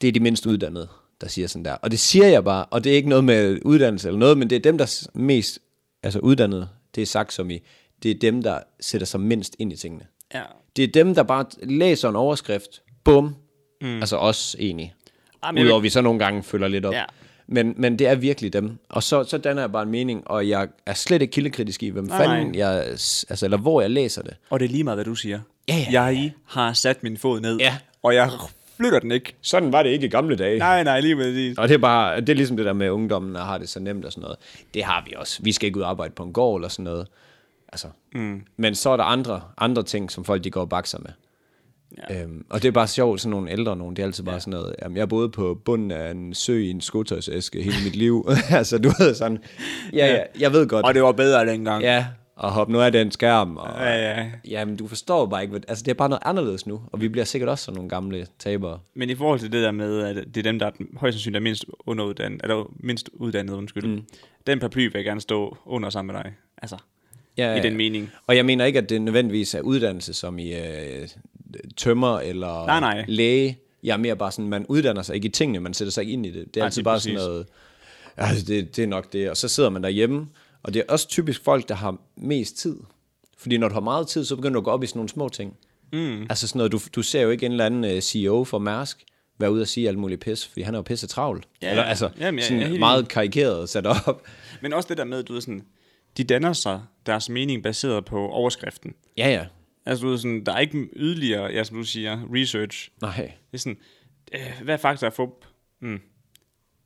B: det er de mindst uddannede, der siger sådan der. Og det siger jeg bare, og det er ikke noget med uddannelse eller noget, men det er dem, der s- mest, altså uddannede, det er sagt som i, det er dem, der sætter sig mindst ind i tingene.
A: Ja.
B: Det er dem, der bare læser en overskrift, bum, mm. altså os egentlig.
A: Ej, Ah, men jeg vil-
B: Udover vi så nogle gange følger lidt op.
A: Ja.
B: Men, men det er virkelig dem. Og så, så danner jeg bare en mening, og jeg er slet ikke kildekritisk i, hvem
A: Nej,
B: fanden jeg, altså, eller hvor jeg læser det.
A: Og det er lige meget, hvad du siger.
B: Ja, ja,
A: Jeg har sat min fod ned,
B: Ja.
A: og jeg flytter den ikke.
B: Sådan var det ikke i gamle dage.
A: Nej, nej, lige præcis.
B: Og det er, bare, det er ligesom det der med, at ungdommen har det så nemt og sådan noget. Det har vi også. Vi skal ikke ud og arbejde på en gård eller sådan noget. Altså. Mm. Men så er der andre, andre ting, som folk de går og bakser med. Ja. Øhm, og det er bare sjovt, sådan nogle ældre nogen, det er altid bare sådan noget, jamen, jeg boede på bunden af en sø i en skotøjsæske hele mit liv. altså, du ved sådan, ja, ja, jeg ved godt,
A: Og det var bedre dengang.
B: ja, og hop nu af den skærm. Og,
A: Ja, ja.
B: Jamen, du forstår bare ikke, hvad, altså, det er bare noget anderledes nu, og vi bliver sikkert også sådan nogle gamle tabere.
A: Men i forhold til det der med, at det er dem, der er den- højst sandsynligt er mindst underuddannet, eller mindst uddannet, undskyld. Mm. Den paraply vil jeg gerne stå under sammen med dig. Altså,
B: Ja,
A: i
B: ja,
A: den
B: ja.
A: mening.
B: Og jeg mener ikke, at det nødvendigvis er uddannelse som i øh, tømmer eller
A: Nej, nej.
B: læge. Jeg er mere bare sådan, man uddanner sig ikke i tingene, man sætter sig ikke ind i det. Det er
A: Nej,
B: altid
A: lige
B: bare
A: præcis.
B: sådan noget, altså det, det er nok det. Og så sidder man derhjemme, og det er også typisk folk, der har mest tid. Fordi når du har meget tid, så begynder du at gå op i sådan nogle små ting. Mm. Altså sådan noget, du, du ser jo ikke en eller anden øh, CEO for Mærsk være ude og sige alt muligt pis, fordi han er jo pisse travlt.
A: Ja,
B: eller,
A: ja.
B: altså,
A: Jamen, jeg-
B: sådan
A: jeg er helt
B: meget karikeret sat op.
A: Men også det der med, du ved sådan, de danner sig deres mening baseret på overskriften.
B: Ja, ja.
A: Altså, du ved sådan, der er ikke yderligere, ja, som du siger, research.
B: Nej.
A: Det er sådan, øh, hvad er fakta og fup? Mm.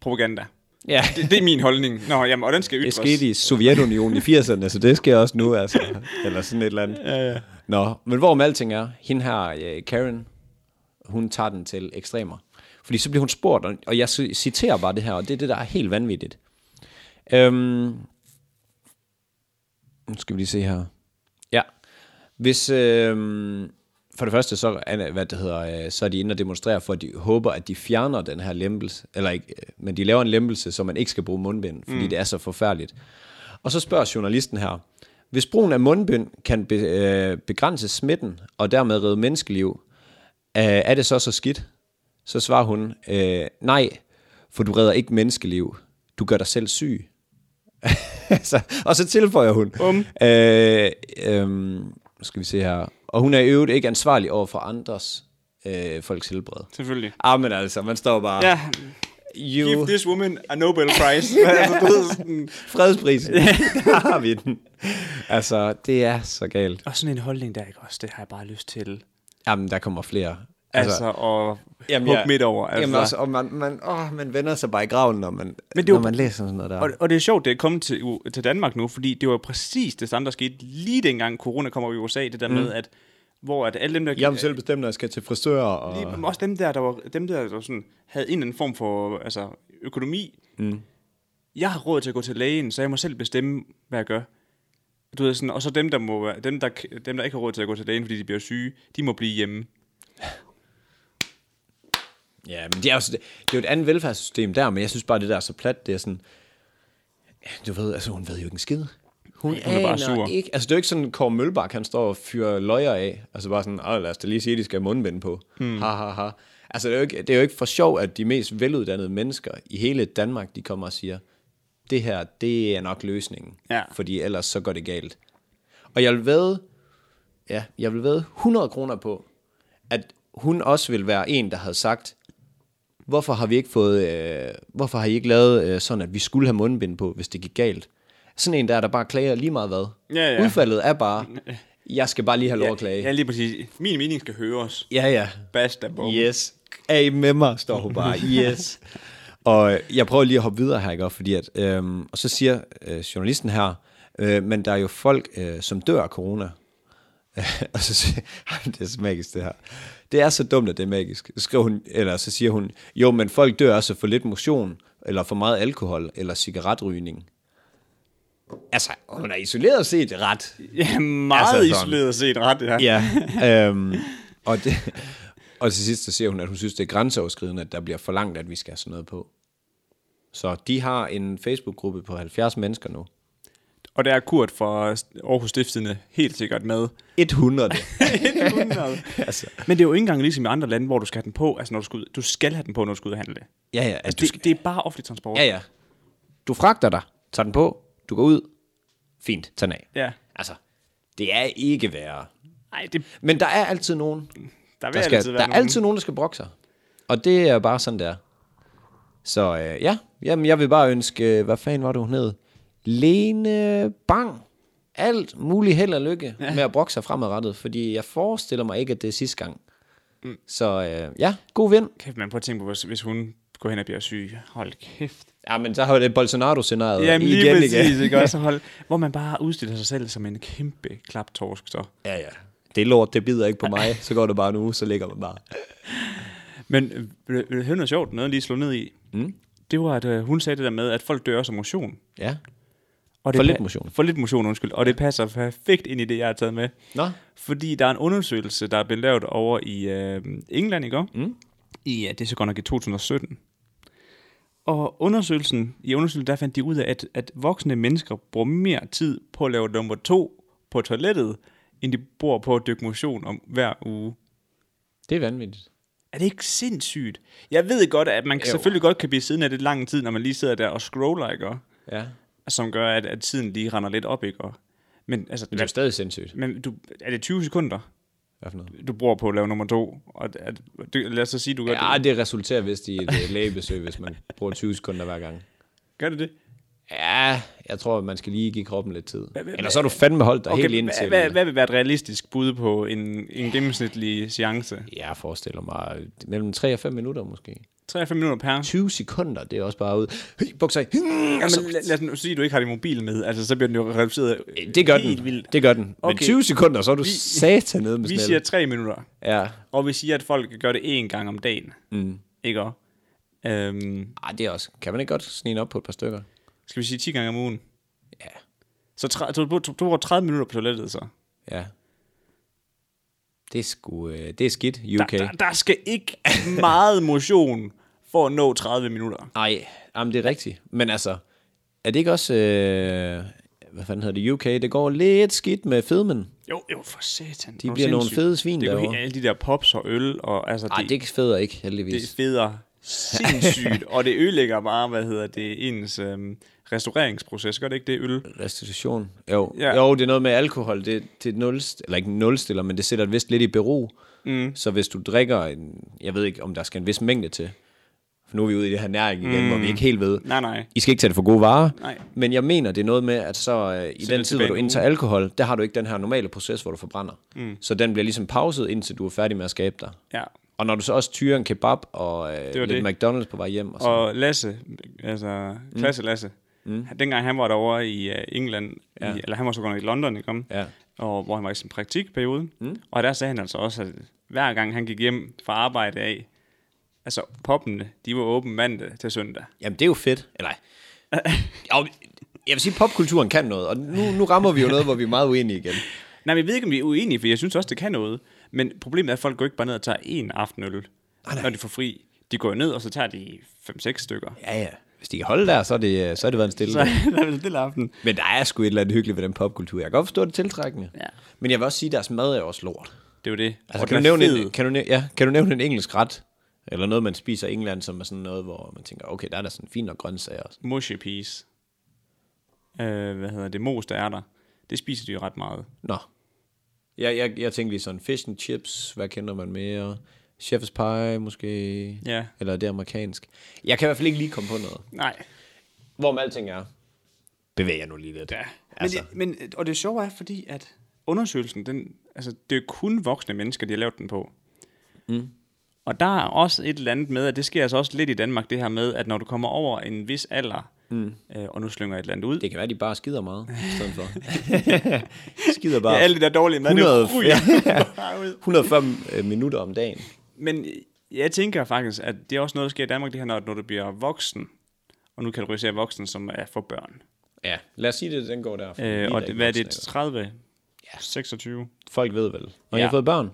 A: Propaganda.
B: Ja.
A: Det, det, er min holdning. Nå, jamen, og den skal
B: Det
A: ytres.
B: skete i Sovjetunionen i 80'erne, så det sker også nu, altså. Eller sådan et eller andet. Ja, ja. Nå, men hvorom alting er, hende her, øh, Karen, hun tager den til ekstremer. Fordi så bliver hun spurgt, og- og jeg ci- citerer bare det her, og det er det, der er helt vanvittigt. Øhm, nu skal vi lige se her. Ja. Hvis, øhm, for det første, så, er- hvad det hedder, øh, så er de inde og demonstrere for, at de håber, at de fjerner den her lempelse, eller ikke, øh, men de laver en lempelse, så man ikke skal bruge mundbind, fordi mm. det er så forfærdeligt. Og så spørger journalisten her, hvis brugen af mundbind kan be, øh, begrænse smitten og dermed redde menneskeliv, øh, er det så så skidt? Så svarer hun, øh, nej, for du redder ikke menneskeliv, du gør dig selv syg. så, Altså, og så tilføjer hun. Um. Øh, øhm, skal vi se her. Og hun er i øvrigt ikke ansvarlig over for andres øh, folks helbred.
A: Selvfølgelig.
B: Ah, men altså, man står bare...
A: Ja, give
B: You,
A: this woman a Nobel Prize. altså, du ved sådan,
B: fredsprisen. der har vi den. Altså, det er så galt.
A: Og sådan en holdning der, ikke også? Det har jeg bare lyst til.
B: Jamen, der kommer flere.
A: Altså, og jamen, hugge midt over. Altså.
B: Jamen, også, og man, man, åh, man vender sig bare i graven, når
A: Men
B: man, men
A: det er
B: det
A: jo-
B: når man læser sådan noget der.
A: og, og det er sjovt, det er kommet til, U- til Danmark nu, fordi det var præcis det samme, der skete lige dengang corona kom op i USA. Det der mm. med, at hvor at alle dem, der...
B: Jeg må selv bestemme, når jeg skal til frisør. Og...
A: Lige, men også dem der, der, var, dem der, der sådan, havde en eller anden form for altså, økonomi. Mm. Jeg har råd til at gå til lægen, så jeg må selv bestemme, hvad jeg gør. Du ved, sådan, og så dem der, må, være- dem, der, dem, der ikke har råd til at gå til lægen, fordi de bliver syge, de må blive hjemme.
B: Ja, men det er, jo, det er jo et andet velfærdssystem der, men jeg synes bare, det der er så plat, det er sådan, du ved, altså hun ved jo ikke en skid. Hun,
A: hun er bare
B: aner
A: sur.
B: Ikke. Altså det er jo ikke sådan, Kåre Mølbak, han står og fyrer løjer af, altså bare sådan, "Åh, lad os da lige sige, at de skal have mundbind på. Hmm. Ha, ha, ha. Altså det er, jo ikke, det er jo ikke for sjov, at de mest veluddannede mennesker i hele Danmark, de kommer og siger, det her, det er nok løsningen,
A: Ja.
B: fordi ellers så går det galt. Og jeg vil væde, ja, jeg vil væde 100 kroner på, at hun også vil være en, der havde sagt, hvorfor har vi ikke fået, øh, hvorfor har I ikke lavet øh, sådan, at vi skulle have mundbind på, hvis det gik galt? Sådan en der, der bare klager lige meget hvad.
A: Ja, ja.
B: Udfaldet er bare, jeg skal bare lige have lov at klage.
A: Ja, lige præcis. Min mening skal høres.
B: Ja, ja.
A: Basta, bum.
B: Yes. er I med mig, står hun bare, yes. og øh, jeg prøver lige at hoppe videre her, ikke? også, Fordi at, øhm, og så siger øh, journalisten her, øh, men der er jo folk, øh, som dør af corona. og så siger Ej, det er så magisk det her. Det er så dumt, at det er magisk. Så, skriver hun, eller så siger hun, jo, men folk dør også for lidt motion, eller for meget alkohol, eller cigaretrygning. Altså, hun er isoleret set ret.
A: Ja, meget
B: Altså, sådan.
A: altså, isoleret set ret, ja.
B: Ja. øhm, og, det, og til sidst så siger hun, at hun synes, det er grænseoverskridende, at der bliver forlangt, at vi skal have sådan noget på. Så de har en Facebook-gruppe på 70 mennesker nu.
A: Og der er Kurt fra Aarhus Stiftstidende helt sikkert med.
B: 100.
A: altså. Men det er jo ikke engang ligesom i andre lande, hvor du skal have den på. Altså, når du skal, ud, du skal have den på, når du skal ud og handle.
B: ja, ja. Altså,
A: Altså,
B: du,
A: det, det er bare offentlig transport.
B: ja, ja. Du fragter dig, tager den på, du går ud. Fint, tag den af.
A: ja.
B: Altså, det er ikke værre.
A: Ej, det,
B: Men der er altid nogen,
A: der vil
B: der, skal,
A: altid
B: der
A: være
B: er
A: nogen.
B: altid nogen, der skal brokke sig. Og det er bare sådan, det er. Så øh, ja, Jamen, jeg vil bare ønske, øh, hvad fanden var det, hun hed? Lene Bang. Alt muligt held og lykke ja. med at brokke sig fremadrettet, fordi jeg forestiller mig ikke, at det er sidste gang. Mm. Så øh, ja, god vind.
A: Kæft, man prøver at tænke på, hvis, hvis hun går hen og bliver syg. Hold kæft.
B: Ja, men så har det Bolsonaro-scenariet
A: Jamen lige
B: igen,
A: præcis,
B: igen.
A: ikke også? Hold, hvor man bare udstiller sig selv som en kæmpe klaptorsk, så.
B: Ja, ja. Det lort, det bider ikke på mig. Så går det bare en uge, så ligger man bare.
A: Men øh, vil vil du høre noget sjovt? Noget jeg lige slå ned i. Mm. Det var, at øh, hun sagde det der med, at folk dør som motion.
B: Ja.
A: Og det
B: For lidt
A: pa-
B: motion.
A: For lidt motion, undskyld. Og det passer perfekt ind i det, jeg har taget med.
B: Nå.
A: Fordi der er en undersøgelse, der er blevet lavet over i øh, England i går. Mm. I, ja, det er så godt nok i 2017. Og undersøgelsen, i undersøgelsen, der fandt de ud af, at, at voksne mennesker bruger mere tid på at lave nummer to på toilettet, end de bruger på at dykke motion om hver uge.
B: Det er vanvittigt.
A: Er det ikke sindssygt? Jeg ved godt, at man jo. selvfølgelig godt kan blive siden af det lang tid, når man lige sidder der og scroller, ikke? Og-
B: Ja.
A: Som gør, at, at tiden lige render lidt op, ikke? Og- Men, altså,
B: Men det er jo stadig sindssygt.
A: men du, er det 20 sekunder?
B: Hvad for noget?
A: du bruger på at lave nummer to, og at, du, lad os så sige, du gør, ja.
B: Ja, det resulterer vist i et øh, lægebesøg, hvis man bruger 20 sekunder hver gang.
A: det. gør det det?
B: Ja, jeg tror, man skal lige give kroppen lidt tid.
A: hva-
B: Eller så har du fandme holdt dig okay, helt ind
A: hvad,
B: til.
A: hvad, hvad vil være et realistisk bud på en, en gennemsnitlig seance?
B: øh, Jeg forestiller mig øh, mellem 3 og 5 minutter måske.
A: 3-5 minutter per.
B: 20 sekunder, det er også bare ud. Hey, bukser i. Hmm,
A: Jamen,
B: altså,
A: lad, lad os nu sige, at du ikke har din mobil med, altså så bliver den jo reduceret
B: det gør
A: øh, helt
B: den.
A: vildt.
B: Det gør den. Men
A: Okay.
B: 20 sekunder, så er du
A: Vi-
B: satan nede med
A: Vi
B: snælden.
A: siger 3 minutter,
B: Ja.
A: og vi siger, at folk gør det én gang om dagen. Mm. Ikke også? Øhm,
B: Ej, det er også. Kan man ikke godt snige op på et par stykker?
A: skal vi sige 10 gange om ugen?
B: Ja.
A: Så tre, du, du, du bruger 30 minutter på toilettet, så.
B: Ja. Det er sgu, øh, det er skidt, UK.
A: Der, der, der skal ikke meget motion for at nå 30 minutter.
B: Nej, jamen det er rigtigt. Men altså, er det ikke også, øh, hvad fanden hedder det, UK? Det går lidt skidt med fedmen.
A: Jo, jo, for satan.
B: De bliver nogle fede svin
A: Det er jo
B: derovre.
A: helt- alle de der pops og øl, og altså,
B: Nej,
A: det, det,
B: det feder ikke, heldigvis.
A: det feder sindssygt, og det ødelægger bare, hvad hedder det, ens øhm, restaureringsproces. Gør det ikke det, øl?
B: Restitution. Jo.
A: Ja.
B: Ja. jo, det er noget med alkohol. Det, det nulst, eller ikke nulstiller, men det sætter det vist lidt i bero. Mm. Så hvis du drikker, en, jeg ved ikke, om der skal en vis mængde til. For nu er vi ude i det her næring igen, mm. hvor vi ikke helt ved.
A: Nej, nej.
B: I skal ikke tage det for gode varer.
A: Nej.
B: Men jeg mener, det er noget med, at så øh, i
A: Sæt
B: den
A: det
B: tid, hvor
A: tilbage
B: du
A: en uge.
B: indtager alkohol, der har du ikke den her normale proces, hvor du forbrænder. Mm. Så den bliver ligesom pauset, indtil du er færdig med at skabe dig.
A: Ja.
B: Og når du så også tyrer en kebab og øh,
A: var
B: lidt
A: det.
B: McDonald's på vej hjem. Og så.
A: Og Lasse, altså, klasse Lasse, mm. dengang han var derovre i uh, England, ja. i, eller han var så godt nok i London, ikke om?
B: Ja.
A: Og hvor han var i sin praktikperiode. Mm. Og der sagde han altså også, at hver gang han gik hjem fra arbejde af, altså poppene, de var åbne mandag til søndag.
B: Jamen, det er jo fedt. Eller, jo, jeg vil sige, popkulturen kan noget, og nu, nu rammer vi jo noget, hvor vi er meget uenige igen.
A: Nej, men jeg ved ikke, om vi er uenige, for jeg synes også, det kan noget. Men problemet er, at folk går ikke bare ned og tager én aftenøl,
B: Ah,
A: når de får fri. De går ned, og så tager de 5-6 stykker.
B: Ja, ja. Hvis de kan holde der, så er det, øh, så er det været en stille
A: Så
B: dag.
A: der er vel stille aften.
B: Men der er sgu et eller andet hyggeligt ved den popkultur. Jeg kan godt forstå det er tiltrækkende.
A: Ja.
B: Men jeg vil også sige, at deres mad er jo også lort.
A: Det er jo det.
B: Altså,
A: Og
B: kan,
A: den
B: du
A: er
B: nævne
A: fed.
B: en, kan, du nævne, ja, kan du nævne en engelsk ret? Eller noget, man spiser i England, som er sådan noget, hvor man tænker, okay, der er der sådan fint nok grøntsager også.
A: Mushy peas. Øh, hvad hedder det? Mos, der er der. Det spiser de jo ret meget.
B: Nå. Jeg, jeg, jeg tænkte lige sådan, fish and chips, hvad kender man mere? Chef's pie måske?
A: Ja.
B: Eller det amerikansk? Jeg kan i hvert fald ikke lige komme på noget.
A: Nej.
B: Hvorom alting er, bevæger jeg nu lige lidt. Ja. Altså,
A: Altså. Men, det- men, og det sjove er, fordi at undersøgelsen, den, altså, det er kun voksne mennesker, de har lavet den på. Mm. Og der er også et eller andet med, at det sker altså også lidt i Danmark, det her med, at når du kommer over en vis alder, mm. øh, og nu slynger jeg et eller andet ud,
B: Det kan være, de bare skider meget, i stedet for. skider
A: ja,
B: bare
A: alle de der dårlige mad, det
B: 100
A: ryger bare ud.
B: 105 øh, minutter om dagen.
A: Men øh, jeg tænker faktisk, at det er også noget, der sker i Danmark, det her, når, når du bliver voksen, og nu kategoriserer jeg voksen som er for børn.
B: Ja, lad os sige det, den går derfra. Vi
A: Øh, og
B: da
A: det,
B: ikke
A: hvad er det,
B: voksne,
A: 30? Ja. 26?
B: eller- Folk ved vel. Og ja.
A: Ja.
B: jeg har fået børn.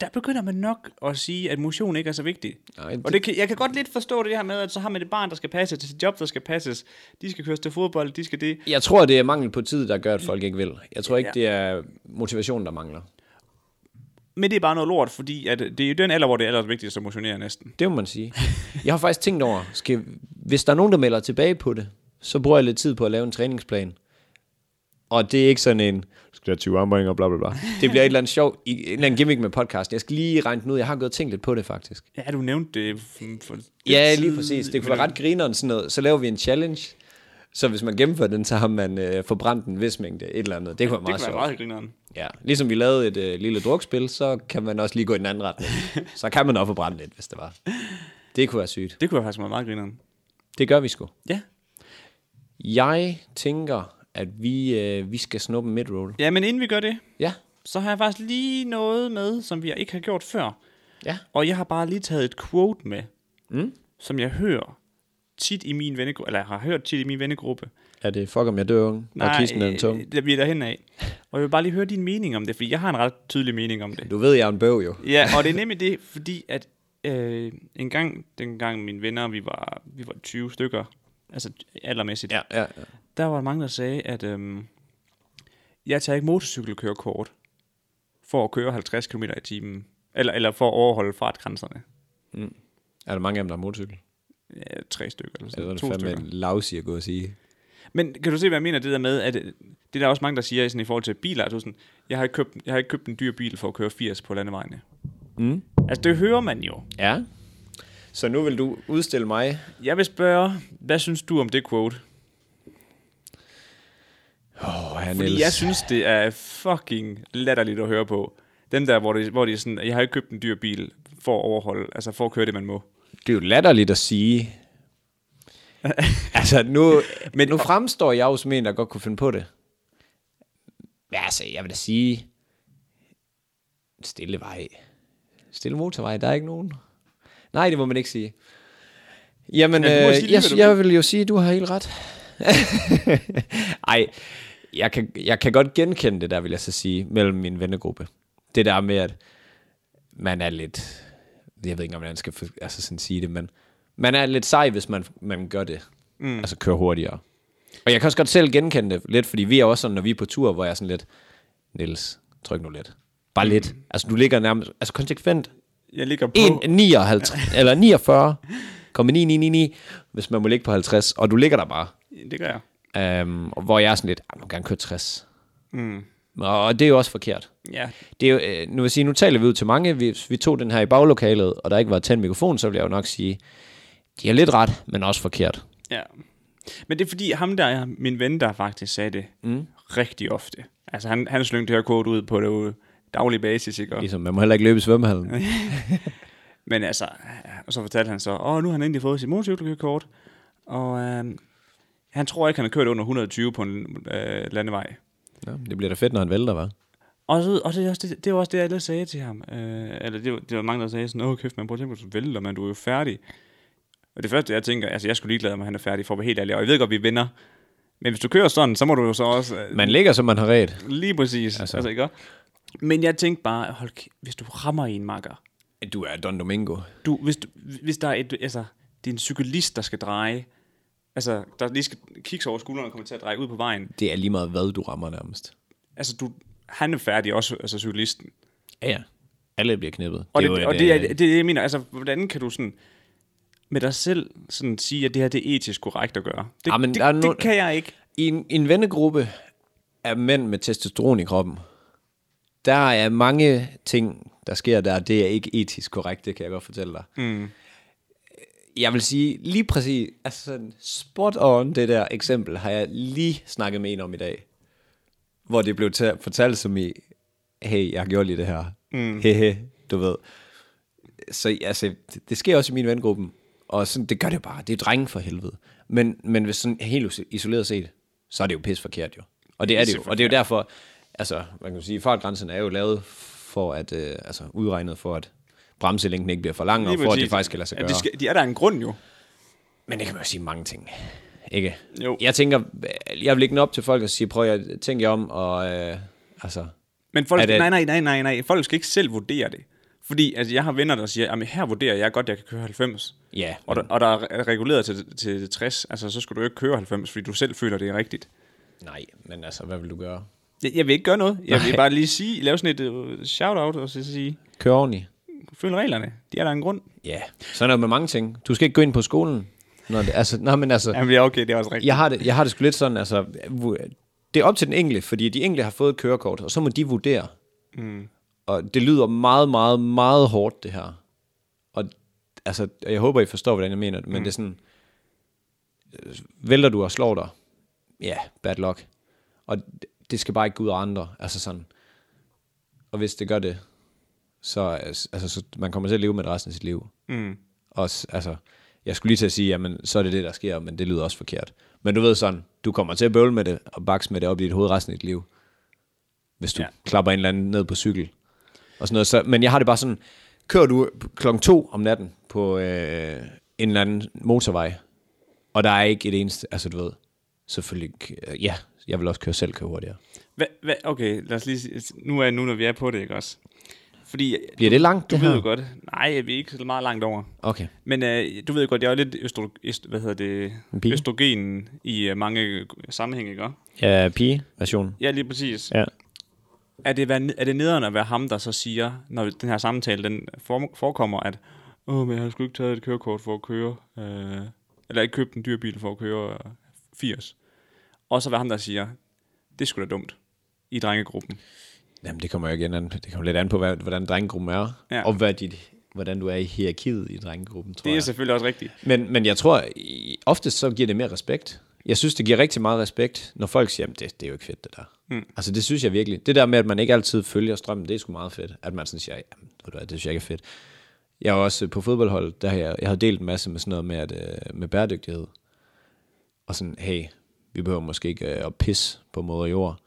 A: der begynder man nok at sige, at motion ikke er så vigtig.
B: Nej, det-
A: Og det kan, jeg kan godt lidt forstå det her med, at så har man et barn, der skal passe til sit job, der skal passes. De skal køres til fodbold, de skal det.
B: Jeg tror, det er mangel på tid, der gør, at folk ikke vil. Jeg tror ikke,
A: Ja.
B: det er motivationen, der mangler.
A: Men det er bare noget lort, fordi at det er jo den alder, hvor det er allervigtigst at motionere næsten.
B: Det må man sige. Jeg har faktisk tænkt over, skal, hvis der er nogen, der melder tilbage på det, så bruger jeg lidt tid på at lave en træningsplan. Og det er ikke sådan en, "Du skal have 20 armbøjninger, bla bla bla. Det bliver et eller andet sjov, i- en eller anden gimmick med podcast. Jeg skal lige regne den ud. Jeg har gået og tænkt lidt på det, faktisk.
A: Ja, du nævnte det. f- For
B: Ja, lige præcis. Det kunne være ret grineren sådan noget. Så laver vi en challenge. Så hvis man gennemfører den, så har man øh, forbrændt en vis mængde, et eller andet. Det kunne være
A: Det kunne
B: meget
A: være
B: sjovt.
A: meget grineren.
B: Ja, ligesom vi lavede et øh, lille drukspil, så kan man også lige gå i den anden retning. så kan man også forbrænde lidt, hvis det var. Det kunne være sygt.
A: Det kunne være faktisk være meget grineren.
B: Det gør vi sgu.
A: Ja.
B: Jeg tænker, at vi, øh, vi skal snuppe en midroll.
A: Ja, men inden vi gør det,
B: Ja,
A: så har jeg faktisk lige noget med, som vi ikke har gjort før.
B: ja.
A: Og jeg har bare lige taget et quote med,
B: Mm.
A: som jeg hører tit i min vennegruppe, eller jeg har hørt tit i min vennegruppe,
B: Er det fuck om jeg dør unge? Nej. Og kisten er en tung.
A: øh, det bliver derhen af. Og jeg vil bare lige høre din mening om det, fordi jeg har en ret tydelig mening om det.
B: Du ved, jeg er en bøv jo.
A: Ja, og det er nemlig det, fordi at øh, en gang, dengang mine venner, vi var, vi var 20 stykker, altså aldermæssigt, ja.
B: ja, ja.
A: der var mange, der sagde, at øh, jeg tager ikke motorcykelkørekort for at køre 50 km i timen, eller, eller for at overholde fartgrænserne.
B: Er der mange af dem, der har motorcykel?
A: Ja, tre stykker eller sådan
B: Eller er
A: noget.
B: det
A: To stykker.
B: fandme lavsig at gå og sige?
A: Men kan du se, hvad jeg mener det der med, at øh, det er der også mange, der siger sådan, i forhold til biler, altså sådan, jeg har, ikke købt, jeg har ikke købt en dyr bil for at køre 80 på landevejene.
B: Mm.
A: Altså det hører man jo.
B: Ja. Så nu vil du udstille mig.
A: Jeg vil spørge, hvad synes du om det quote?
B: Åh, oh, han
A: Fordi jeg synes, det er fucking latterligt at høre på. Dem der, hvor det, hvor det er sådan, jeg har ikke købt en dyr bil for at overholde, altså for at køre det, man må.
B: Det er jo latterligt at sige. altså, nu, men, nu fremstår jeg jo som en, der godt kunne finde på det. Men altså, jeg vil da sige, stille vej. Stille motorvej, der er ikke nogen. Nej, det må man ikke sige. Jamen,
A: Ja, du må
B: ja, øh,
A: sige lige,
B: jeg,
A: hvad du
B: jeg vil jo sige, at du har helt ret. Ej, jeg kan, jeg kan godt genkende det der, vil jeg så sige, mellem min vennegruppe. Det der med, at man er lidt, jeg ved ikke, om man skal for- altså sådan sige det, men man er lidt sej, hvis man, man gør det. Mm. Altså kører hurtigere. Og jeg kan også godt selv genkende det lidt, fordi vi er også sådan, når vi er på tur, hvor jeg er sådan lidt, Niels, tryk nu lidt.
A: Mm.
B: Bare lidt. Altså du ligger nærmest, altså konsekvent,
A: Jeg ligger på...
B: 1, 59, eller 49, komme 9999, hvis man må ligge på 50, og du ligger der bare.
A: Det gør jeg.
B: Øhm, og hvor jeg er sådan lidt, "Ah, man kan gerne køre 60.
A: Mm.
B: Og det er jo også forkert.
A: Ja,
B: Det er jo, øh, nu vil jeg sige, nu taler vi ud til mange. Hvis vi tog den her i baglokalet, og der ikke var tændt mikrofon, så ville jeg jo nok sige, de har lidt ret, men også forkert.
A: Ja. Men det er fordi, ham der, er min ven, der faktisk sagde det mm. rigtig ofte. Altså, han, han slyngte det her kort ud på det jo daglig basis, ikke? Og,
B: Ligesom, man må heller ikke løbe i svømmehallen.
A: men altså, og så fortalte han så, åh, nu har han endelig fået sit motorcykelkort, og øh, han tror ikke, han har kørt under 120 på en øh, landevej.
B: Ja, det bliver da fedt, når han vælter, hva'?
A: Og, så, og det, er også det, det var også det, alle sagde til ham. Øh, eller det, var- det var mange, der sagde sådan, åh kæft, man prøv at tænke på, du vælter, man, du er jo færdig. Og det første, jeg tænker, altså jeg skulle ligeglad, om han er færdig, for at være helt ærlig. Og jeg ved godt, vi vinder. Men hvis du kører sådan, så må du jo så også... øh,
B: Man ligger, som man har ret.
A: Lige præcis.
B: Altså.
A: Altså. altså, ikke også? Men jeg tænkte bare, hold, kæ- hvis du rammer en makker,
B: Du er Don Domingo.
A: du, hvis, du, hvis der er et, altså, det er en cyklist, der skal dreje, altså, der lige skal kigge over skulderen og kommer til at dreje ud på vejen,
B: Det er lige meget, hvad du rammer nærmest.
A: altså, du, han er færdig også, altså cyklisten.
B: Ja, ja. Alle bliver knippet.
A: Og det,
B: er
A: det,
B: jo
A: og
B: et,
A: det, er,
B: øh,
A: det, er det, jeg mener, altså, hvordan kan du sådan med dig selv sådan sige, at det her det er etisk korrekt at gøre? Det,
B: Ah, men
A: det,
B: der er no-
A: det kan jeg ikke.
B: I en, en vennegruppe af mænd med testosteron i kroppen, der er mange ting, der sker der. Det er ikke etisk korrekt, det kan jeg godt fortælle dig. Mm. Jeg vil sige lige præcis, altså sådan spot on det der eksempel, har jeg lige snakket med en om i dag. Hvor det blev ta- fortalt som i, hey, jeg gjorde lige det her. Mm. Hehe, du ved. så altså, det, det sker også i min vengruppe, og sådan, det gør det jo bare. Det er jo drenge for helvede. Men, men hvis sådan helt isoleret set, så er det jo pis forkert jo. Og det er det jo. Og det er jo derfor, altså, man kan jo sige, fartgrænsen er jo lavet for at, øh, altså udregnet for at bremselængden ikke bliver for lang, og
A: Lige
B: for at
A: præcis.
B: det faktisk kan lade sig
A: Ja,
B: gøre.
A: de, skal, de er der en grund jo.
B: Men det kan man jo sige mange ting. Ikke?
A: Jo.
B: Jeg tænker, jeg vil lægge den op til folk og sige, prøv at tænke jer om, og øh, altså,
A: Men folk,
B: Er det-
A: det... nej, nej, nej, nej, nej. Folk skal ikke selv vurdere det. Fordi altså, jeg har venner, der siger, at her vurderer jeg godt, jeg kan køre 90.
B: ja.
A: Og, der, og der er reguleret til, til 60, altså så skal du jo ikke køre 90, fordi du selv føler, det er rigtigt.
B: Nej, men altså, hvad vil du gøre?
A: Jeg, jeg vil ikke gøre noget. Jeg vil
B: Nej.
A: bare lige sige, lave sådan et øh, shout-out og så sige,
B: Kør ordentligt.
A: følg reglerne. De er der en grund.
B: Ja, sådan er det med mange ting. Du skal ikke gå ind på skolen. Når det, altså, nej, men altså,
A: Jamen, ja, okay, det er også rigtigt.
B: jeg har, det, jeg har det sgu lidt sådan, altså, vu- det er op til den enkelte, fordi de enkelte har fået et kørekort, og så må de vurdere. Mm. Og det lyder meget, meget, meget hårdt, det her. Og altså, og jeg håber, I forstår, hvordan jeg mener det, men mm. det er sådan, øh, vælter du og slår dig, ja, yeah, bad luck. Og d- det skal bare ikke gå ud af andre, altså sådan. Og hvis det gør det, så, altså, så man kommer til at leve med det resten af sit liv.
A: Mm.
B: Også, altså, jeg skulle lige til at sige, jamen, så er det det, der sker, men det lyder også forkert. Men du ved sådan, du kommer til at bøvle med det, og bakse med det op i dit hoved resten af dit liv. Hvis du ja.
A: Ja.
B: klapper en eller anden ned på cykel. Og sådan noget. Så, men jeg har det bare sådan, kører du klokken to om natten på øh, en eller anden motorvej, og der er ikke et eneste, altså du ved, selvfølgelig, øh, ja, jeg vil også køre selv, køre hurtigere.
A: Hva, hva, okay, lad os lige sige, nu, er, nu når vi er på det, ikke også? Fordi øh,
B: Bliver det langt,
A: du
B: det
A: ved
B: her?
A: jo godt, nej, vi er ikke så meget langt over.
B: Okay.
A: Men øh, du ved jo godt, jeg er jo lidt østro, øst, hvad hedder det,
B: En pige.
A: østrogen i øh, mange øh, sammenhænge, ikke også?
B: Ja, pige-version.
A: Ja, lige præcis.
B: Ja.
A: Er det, være- er det nederen at være ham, der så siger, når den her samtale den form- forekommer, at Åh, men jeg har sgu ikke taget et kørekort for at køre, øh, eller ikke købt en dyr bil for at køre øh, 80. Og så være ham, der siger, det skulle sgu da dumt i drengegruppen.
B: Jamen, det kommer jo igen an, det kommer lidt an på, hvad, hvordan drengegruppen er, ja.
A: Ja.
B: og hvad dit, hvordan du er i hierarkiet i drengegruppen, tror
A: Det er
B: jeg.
A: selvfølgelig også rigtigt.
B: Men, men jeg tror, i- oftest så giver det mere respekt. Jeg synes, det giver rigtig meget respekt, når folk siger, "Jamen, det, det er jo ikke fedt, det der. Mm. Altså, det synes jeg virkelig. Det der med, at man ikke altid følger strømmen, det er sgu meget fedt. At man sådan siger, jamen, ved du hvad, det synes jeg ikke er fedt. Jeg var også øh, på fodboldholdet, der har jeg, jeg havde delt en masse med sådan noget med, at, øh, med bæredygtighed. Og sådan, hey, vi behøver måske ikke øh, at pisse på moder jord.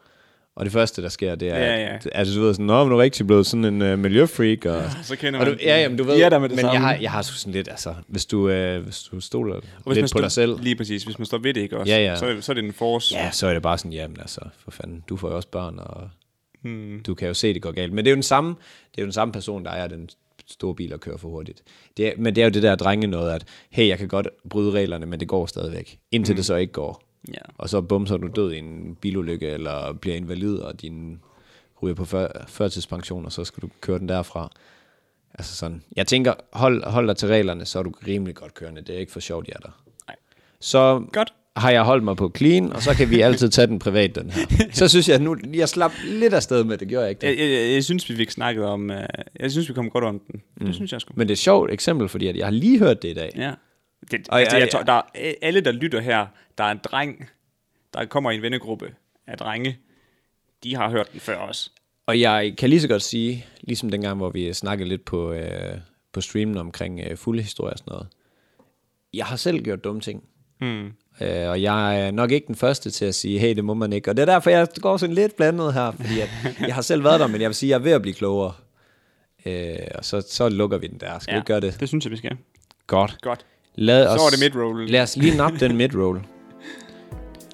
B: Og det første, der sker, det er,
A: Ja, ja.
B: At, altså, du ved sådan, nå, men du er rigtig blevet sådan en øh, miljøfreak. Og, ja,
A: så kender
B: og du,
A: man-
B: ja, jamen, du ved,
A: De er der med det
B: men jeg
A: samme.
B: har, jeg har sgu sådan lidt, altså, hvis du, øh, hvis du stoler
A: Og hvis
B: lidt
A: man
B: på
A: står,
B: dig selv,
A: Lige præcis, hvis man står ved det ikke også,
B: Ja, ja.
A: Så, er det, så er det en force.
B: ja, så er det bare sådan, jamen altså, for fanden, du får jo også børn, og hmm. du kan jo se, det går galt. Men det er jo den samme, det er jo den samme person, der ejer den store bil og kører for hurtigt. Det er, men det er jo det der drenge noget, at hey, jeg kan godt bryde reglerne, men det går stadigvæk,
A: Hmm.
B: indtil mm. det så ikke går.
A: Ja.
B: Og så bum, så er du død i en bilulykke, eller bliver invalid, og din ryger på før, førtidspension, og så skal du køre den derfra. Altså sådan. Jeg tænker, hold, hold dig til reglerne, så er du rimelig godt kørende. Det er ikke for sjovt, jeg er der.
A: Nej.
B: Så
A: Godt.
B: har jeg holdt mig på clean, og så kan vi altid tage den privat, den her. Så synes jeg nu, jeg slap lidt af sted med det, gjorde jeg ikke det?
A: Jeg, jeg, jeg, jeg synes, vi fik snakket om, øh, jeg synes, vi kom godt om den.
B: Mm.
A: Det synes jeg sgu.
B: Men det er et sjovt eksempel, fordi at jeg har lige hørt det i dag.
A: Ja. Det,
B: Og
A: og, altså,
B: jeg-
A: jeg, tror, der er alle, der lytter her, der er en dreng, der kommer i en vennegruppe af drenge, de har hørt den før også.
B: Og jeg kan lige så godt sige, ligesom dengang, hvor vi snakkede lidt på, øh, på streamen omkring øh, fulde historier og sådan noget. Jeg har selv gjort dumme ting.
A: Mm.
B: Øh, og jeg er nok ikke den første til at sige, hey, det må man ikke. Og det er derfor, jeg går sådan lidt blandet her, fordi at jeg har selv været der, men jeg vil sige, at jeg er ved at blive klogere. Øh, og så, så lukker vi den der. Skal ja. vi ikke gøre det?
A: Det synes jeg, vi skal.
B: Godt.
A: Godt.
B: Lad os,
A: Så var det midroll.
B: Lad os lige nappe den midroll.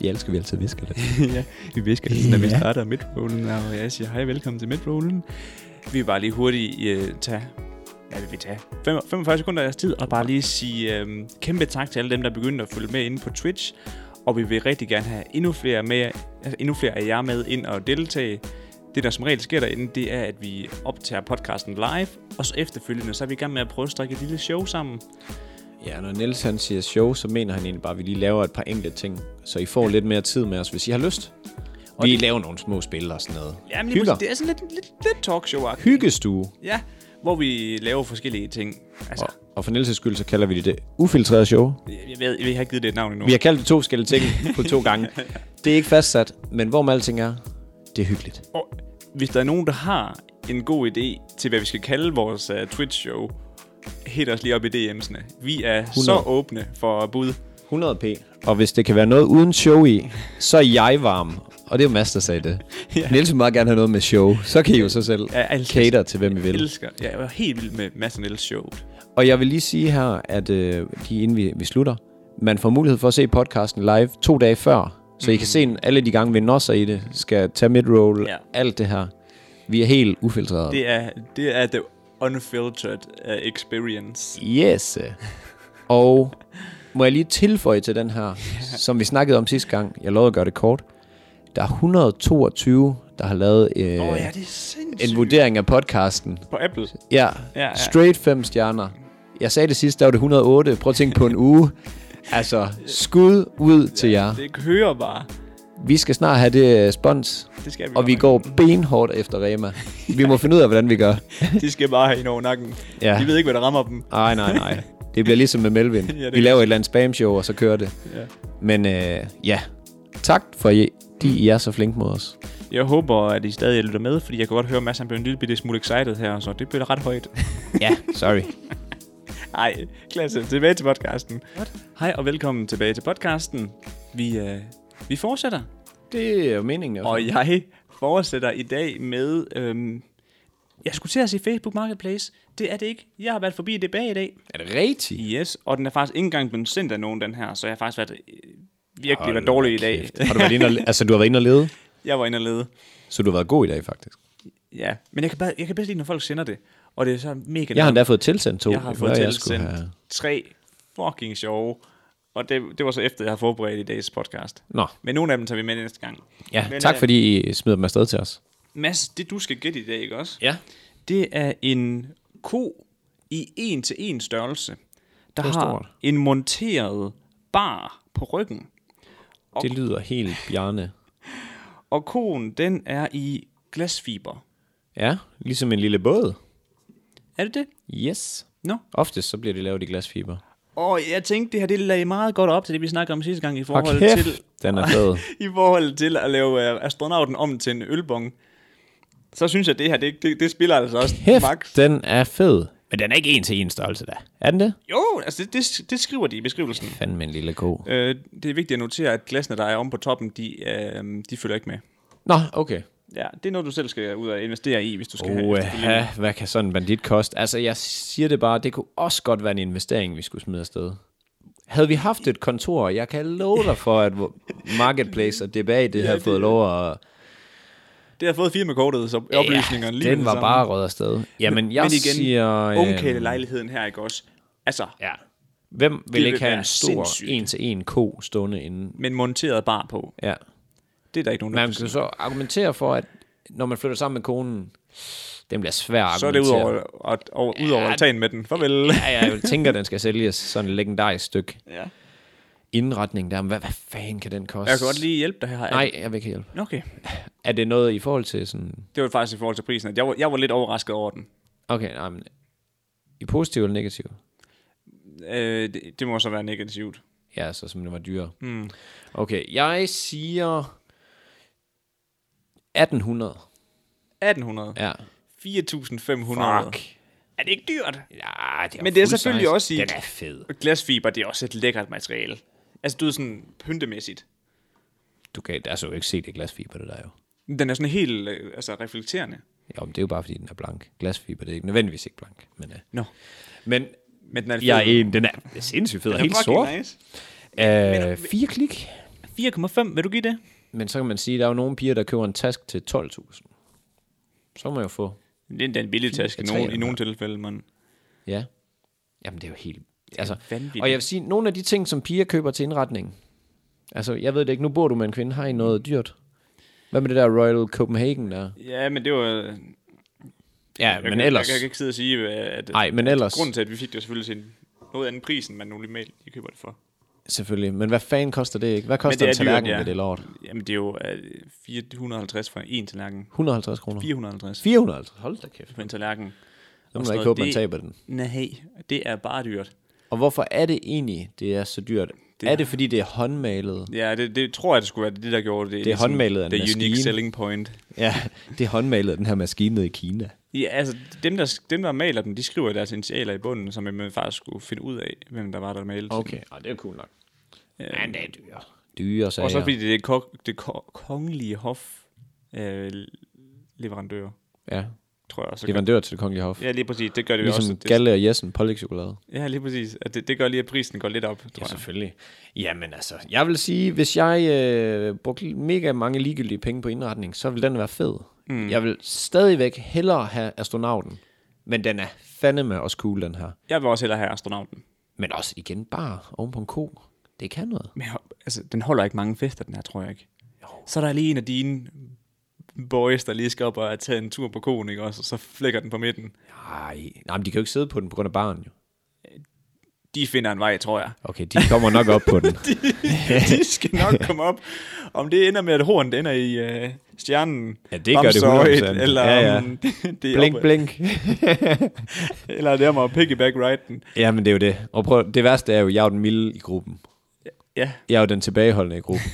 B: Jeg elsker, vi altid visker det.
A: ja, vi visker lige, når vi starter midrollen, og jeg siger hej, velkommen til midrollen. Vi vil bare lige hurtigt øh, tage, hvad vil vi tage? Fem- 45 sekunder af jeres tid, og bare lige sige øh, kæmpe tak til alle dem, der begyndte at følge med inde på Twitch. Og vi vil rigtig gerne have endnu flere, med, altså endnu flere af jer med ind og deltage. Det, der som regel sker derinde, det er, at vi optager podcasten live, og så efterfølgende, så er vi i gang med at prøve at strikke et lille show sammen.
B: Ja, når Niels han siger show, så mener han egentlig bare, at vi lige laver et par enkelte ting, så I får lidt mere tid med os, hvis I har lyst. Og vi laver nogle små spil og sådan noget.
A: Jamen, lige
B: Hygger.
A: præcis, det er sådan lidt, lidt, lidt talkshow
B: Hyggestue.
A: Ja, hvor vi laver forskellige ting. Altså,
B: Og, og for Niels' skyld, så kalder vi det det ufiltrerede show.
A: Jeg, jeg, ved, jeg har ikke givet det et navn endnu.
B: Vi har kaldt det to forskellige ting på to gange. Det er ikke fastsat, men hvor med alting er, det er hyggeligt.
A: Og hvis der er nogen, der har en god idé til, hvad vi skal kalde vores uh, Twitch-show, hit os lige op i DM'sene. Vi er 100. så åbne for bud.
B: 100p. Og hvis det kan være noget uden show i, så er jeg varm. Og det er jo Mads, der sagde det. ja. Niels vil meget gerne have noget med show. Så kan I jo så selv
A: Jeg elsker-
B: cater til, hvem I
A: Jeg
B: vil.
A: elsker. Jeg var helt vild med Mads og Niels show.
B: Og jeg vil lige sige her, at øh, lige inden vi, vi slutter, man får mulighed for at se podcasten live to dage før. Så I kan se den alle de gange, vi nosser i det, skal tage midroll,
A: Mhm. Ja.
B: ja. alt det her. Vi er helt ufiltreret.
A: Det er, det er the unfiltered uh, experience.
B: Yes. Og må jeg lige tilføje til den her, som vi snakkede om sidste gang. Jeg lovede at gøre det kort. Der er 122, der har lavet øh,
A: Åh oh, ja,
B: oh,
A: det er sindssygt.
B: en vurdering af podcasten.
A: På Apple.
B: Ja,
A: Ja, ja.
B: straight fem stjerner. Jeg sagde det sidste, der var det 108. Prøv at tænke på en uge. Altså, skud ud til jer.
A: Det kører bare.
B: Vi skal snart have det øh, spons,
A: Det skal vi
B: og vi
A: godt
B: går benhårdt efter Rema. Vi må finde ud af, hvordan vi gør.
A: nok. De skal bare have en over nakken.
B: Ja.
A: De ved ikke, hvad der rammer dem.
B: Nej, nej, nej. Det bliver ligesom med Melvin.
A: det
B: ja,
A: kan
B: vi laver et eller andet spam-show, og så kører det.
A: Ja.
B: Men øh, ja, tak for, at I, de, I er så flinke mod os.
A: Jeg håber, at I stadig lytter med, fordi jeg kan godt høre, at Mads han blev en lille bitte smule excited her, så det blev ret højt.
B: Ja, sorry.
A: Ej, klasse. Tilbage til podcasten. What? Hej og velkommen tilbage til podcasten. Vi, øh, vi fortsætter,
B: Det er jo meningen. Jo.
A: og jeg fortsætter i dag med... Øhm, jeg skulle til at sige Facebook Marketplace. Det er det ikke. Jeg har været forbi det bag i dag.
B: Er det rigtigt?
A: Yes, og den er faktisk ikke engang blevet sendt af nogen, den her, så jeg har faktisk været øh, virkelig været dårlig i dag.
B: Har du været inde og, altså, du har været inde og lede,
A: jeg var inde og lede.
B: så du har været god i dag, faktisk.
A: Ja, men jeg kan, bare, jeg kan bedst lide, når folk sender det, og det er så mega
B: Jeg har endda fået tilsendt to.
A: jeg har
B: Det
A: fået
B: var, jeg skulle
A: tilsendt
B: have-
A: tre fucking sjove, og det, det var så efter, jeg har forberedt i dagens podcast.
B: Nå,
A: Men nogle af dem tager vi med næste gang.
B: ja,
A: Men,
B: tak
A: øh,
B: fordi I smider dem afsted til os.
A: Mads, det du skal gætte i dag, ikke også?
B: Ja.
A: Det er en ko i en til en størrelse, der
B: Det er
A: har
B: stort.
A: en monteret bar på ryggen.
B: Det lyder helt bjerne.
A: Og koen, den er i glasfiber.
B: Ja, ligesom en lille båd.
A: Er det det?
B: Yes.
A: Nå.
B: Oftest så bliver det lavet i glasfiber.
A: Og jeg tænkte, det her det lagde meget godt op til det, vi snakkede om sidste gang i
B: Og
A: forhold til
B: kæft, den er fed.
A: i forhold til at lave uh, astronauten om til en ølbong. Så synes jeg, det her, det, det, det spiller altså også
B: Kæft,
A: max.
B: den er fed. Men den er ikke en til en størrelse, da. Er den det?
A: Jo, altså det, det, det skriver de i beskrivelsen.
B: Fanden med en lille ko.
A: Øh, det er vigtigt at notere, at glasene, der er om på toppen, de, øh, de følger ikke med.
B: Nå, okay.
A: Ja, det er noget, du selv skal ud og investere i, hvis du skal have efterfølgende.
B: Oha, hvad kan sådan en bandit koste? Altså, jeg siger det bare, det kunne også godt være en investering, vi skulle smide afsted. Havde vi haft et kontor, jeg kan love dig for, at hvor- Marketplace og DBA, det ja, havde fået lov at...
A: Det har fået firmakortet, så oplysningerne lige med
B: den
A: det
B: var
A: samme.
B: bare rød afsted. Jamen, jeg
A: Men igen,
B: siger... øhm,
A: ungkæle lejligheden her, ikke også? Altså,
B: ja. Hvem vil
A: vil
B: ikke have
A: være
B: en stor
A: sindssygt.
B: en-til-en ko stående inde?
A: men monteret bar på.
B: Ja.
A: Det er der ikke nogen, der
B: Man skal så argumentere for, at når man flytter sammen med konen, den bliver svær at
A: Så er det ud
B: argumentere.
A: over, og, og, ud over altanen med den. Farvel.
B: Ja, jeg tænker, den skal sælges sådan et legendarisk stykke.
A: Ja.
B: indretning der, men hvad, hvad fanden kan den koste?
A: Jeg kan godt lige hjælpe dig her.
B: Nej, jeg vil ikke hjælpe.
A: Okay.
B: Er det noget i forhold til sådan...
A: Det var faktisk i forhold til prisen, at jeg var, jeg var lidt overrasket over den.
B: Okay, nej, men... I positiv eller negativ?
A: Øh, det, det, må så være negativt.
B: Ja, så som det var dyrere.
A: Mm.
B: Hmm. Okay, jeg siger... 1800.
A: 1800.
B: Ja.
A: 4500. Er det ikke dyrt?
B: Ja, det er
A: Men det er
B: full
A: selvfølgelig
B: size.
A: også i-
B: Den er fed.
A: Glasfiber, det er også et lækkert materiale. Altså, du er sådan pyntemæssigt.
B: Du kan altså jo ikke se det glasfiber, det der jo.
A: Den er sådan helt øh, altså, reflekterende.
B: Jo, men det er jo bare, fordi den er blank. Glasfiber, det er ikke nødvendigvis ikke blank. Men, øh.
A: Nå.
B: men
A: Men den er
B: jeg er
A: fed.
B: en, den er sindssygt fed
A: Den
B: og
A: er
B: helt
A: fucking
B: sort.
A: Nice.
B: Øh, fire klik.
A: 4,5, vil du give det?
B: Men så kan man sige, at der er jo nogle piger, der køber en task til 12.000. Så må jeg jo få.
A: Det er endda en billig taske i
B: tre
A: nogen, i
B: eller
A: nogle tilfælde, men
B: Ja. Jamen, det er jo helt... Altså,
A: vanvittigt.
B: og jeg vil sige, nogle af de ting, som piger køber til indretning. Altså, jeg ved det ikke. Nu bor du med en kvinde. Har I
A: Mm.
B: noget dyrt? Hvad med det der Royal Copenhagen der?
A: Ja, men det var...
B: Ja,
A: jeg,
B: men
A: kan,
B: ellers...
A: Jeg, jeg kan ikke sidde og sige, øh, at...
B: Nej, men
A: at
B: ellers-
A: Grunden til, at vi fik det var selvfølgelig til en- noget anden pris, end man normalt de køber det for.
B: Selvfølgelig. Men hvad fanden koster det ikke? Hvad koster
A: det
B: en
A: er dyrt,
B: tallerken
A: ja.
B: ved det lort?
A: Jamen, det er jo øh, 450 for en tallerken.
B: 150 kroner.
A: 450
B: 450? Hold da kæft.
A: for en tallerken.
B: Nu
A: Og sådan
B: må jeg ikke
A: noget,
B: håbe, man
A: det-
B: taber den.
A: Nej, det er bare dyrt.
B: Og hvorfor er det egentlig, det er så dyrt? er det, fordi det er håndmalet?
A: Ja, det, det tror jeg, det skulle være det, der gjorde det.
B: er håndmalet af en
A: Det unique
B: maskine.
A: selling point.
B: Ja, det er håndmalet af den her maskine nede i Kina.
A: Ja, altså dem der, dem, der maler den, de skriver deres initialer i bunden, som man faktisk skulle finde ud af, hvem der var, der malede.
B: Okay, og det er cool nok.
A: Øh,
B: Men det er dyre. Dyre sager.
A: Og så fordi det er kok, det ko, kongelige hof øh, leverandør,
B: Ja,
A: tror jeg. Så gør,
B: leverandør til det kongelige hof.
A: ja, lige præcis. Det gør det jo også.
B: Ligesom
A: Det,
B: Galle og Jessen, pålægtschokolade.
A: ja, lige præcis. At det, det gør lige, at prisen går lidt op, tror jeg.
B: selvfølgelig. Jamen altså, jeg vil sige, hvis jeg øh, brugte mega mange ligegyldige penge på indretning, så ville den være fed. Mm. Jeg vil stadigvæk hellere have astronauten, men den er fandeme også cool, den her.
A: Jeg vil også hellere have astronauten.
B: Men også igen bare oven på en ko. Det kan noget.
A: Men jeg, altså, den holder ikke mange fester, den her, tror jeg ikke. Jo. Så er der lige en af dine boys, der lige skal op og have taget en tur på konen, ikke også? Og så flækker den på midten.
B: Nej, nej, men de kan jo ikke sidde på den på grund af barn jo.
A: De finder en vej, tror jeg.
B: Okay, de kommer nok op på den.
A: de skal nok komme op. Om det ender med, at hornet ender i øh, stjernen.
B: Ja, det gør det
A: Bamseøjet,
B: 100%.
A: Eller,
B: Ja, ja.
A: om det er
B: blink,
A: op,
B: blink.
A: eller det er om at piggyback righten.
B: ja, men det er jo det. Og prøv, det værste er jo, jeg er jo den milde i gruppen.
A: Ja,
B: Jeg er jo den tilbageholdende i gruppen.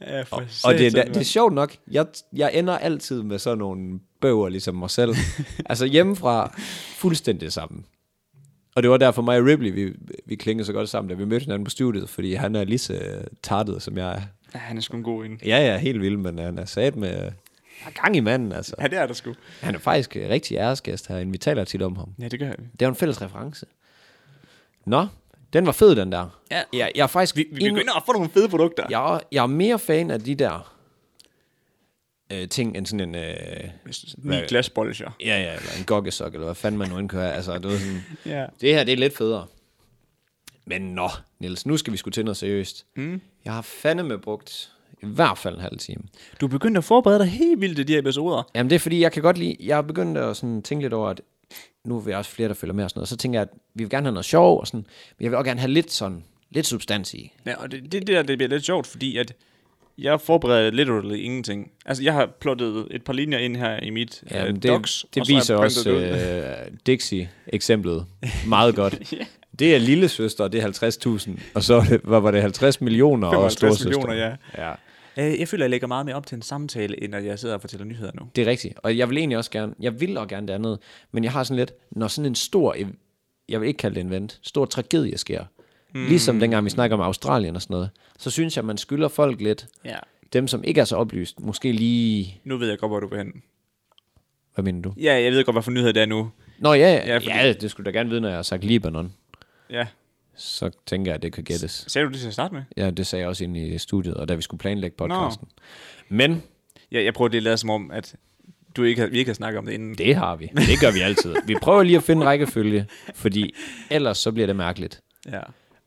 A: ja for
B: Og det, er
A: satan,
B: da- det er
A: mand.
B: sjovt nok, jeg, jeg ender altid med sådan nogle bøger ligesom mig selv. altså hjemmefra, fuldstændig sammen. Og det var derfor mig og Ripley, vi, vi klingede så godt sammen, da vi mødte hinanden på studiet, fordi han er lige så tartet, som jeg er.
A: Ja, han er sgu en god en.
B: Ja, ja, helt vild, men han er sat med har gang i manden, altså.
A: Ja, det er der sgu.
B: Han er faktisk en rigtig æresgæst herinde. Vi taler tit om ham.
A: Ja, det gør vi.
B: Det er jo en fælles reference. Nå, den var fed, den der.
A: Ja.
B: Jeg, jeg er faktisk...
A: Vi, vi begynder at få nogle fede produkter.
B: jeg, er- jeg er mere fan af de der øh, ting, end sådan en... Øh,
A: Ni glasbolger.
B: ja, ja, eller en gokkesok, eller hvad fanden man nu end kan have. Altså, du ved sådan,
A: Ja.
B: det her, det er lidt federe. Men nå, Niels, nu skal vi sgu til noget seriøst. Mm. Jeg har fandeme brugt i hvert fald en halv time.
A: Du begyndte at forberede dig helt vildt til de her episoder.
B: Jamen det er fordi, jeg kan godt lide, jeg er begyndt at sådan tænke lidt over, at nu er vi også flere, der følger med og sådan noget, så tænker jeg, at vi vil gerne have noget sjov og sådan, men jeg vil også gerne have lidt sådan, lidt substans i.
A: Ja, og det, det, det der, det bliver lidt sjovt, fordi at jeg forbereder literally ingenting. Altså, jeg har plottet et par linjer ind her i mit ja, uh,
B: det,
A: docs,
B: det
A: og så har jeg
B: viser
A: printet
B: også
A: det ud.
B: øh, Dixie-eksemplet meget godt. Det er lille søster, og det er 50.000, og så er det, hvad var det 50 millioner og
A: 55
B: storsøster.
A: millioner, ja.
B: ja.
A: Øh, Jeg føler, jeg lægger meget mere op til en samtale, end at jeg sidder og fortæller nyheder nu.
B: Det er rigtigt. Og jeg vil egentlig også gerne, jeg vil også gerne det andet, men jeg har sådan lidt, når sådan en stor, ev- jeg vil ikke kalde det en vent, stor tragedie sker, mm. ligesom dengang vi snakker om Australien og sådan noget, så synes jeg, man skylder folk lidt,
A: Ja.
B: dem som ikke er så oplyst, måske lige,
A: Nu ved jeg godt, hvor du vil hen.
B: hvad mener du?
A: Ja, jeg ved godt, hvad for nyheder det er nu.
B: Nå ja,
A: Ja,
B: ja,
A: fordi-
B: fordi... ja det skulle du da gerne vide, når jeg har sagt Libanon.
A: Ja.
B: Så tænker jeg, at det kan gættes.
A: Sagde du det til at starte med?
B: Ja, det sagde jeg også inde i studiet, og da vi skulle planlægge podcasten. Nå. Men
A: Ja, jeg prøver det at lade som om, at du ikke har, vi ikke har snakket om det inden.
B: det har vi. Det gør vi altid. Vi prøver lige at finde en rækkefølge, fordi ellers så bliver det mærkeligt.
A: Ja.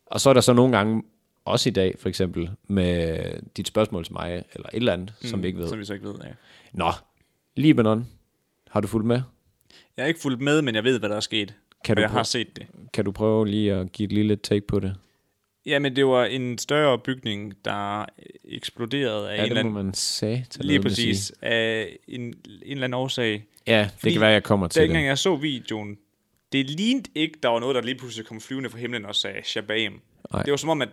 B: Og så er der så nogle gange, også i dag for eksempel, med dit spørgsmål til mig, eller et eller andet, mm, som vi ikke ved.
A: Som vi så ikke ved, ja.
B: Nå, Libanon, har du fulgt med?
A: Jeg har ikke fulgt med, men jeg ved, hvad der er sket.
B: Kan
A: og
B: du
A: jeg har
B: prøve-
A: set det.
B: Kan du prøve lige at give et lille take på det?
A: Ja, men det var en større bygning, der eksploderede af
B: Ja,
A: en eller
B: det må
A: anden...
B: man sige.
A: Lige præcis. Af en, en eller anden årsag.
B: Ja, det
A: Fordi
B: kan være, jeg kommer til
A: Dengang
B: det.
A: jeg så videoen, det lignede ikke, der var noget, der lige pludselig kom flyvende fra himlen og sagde shabam.
B: Nej.
A: Det var som om, at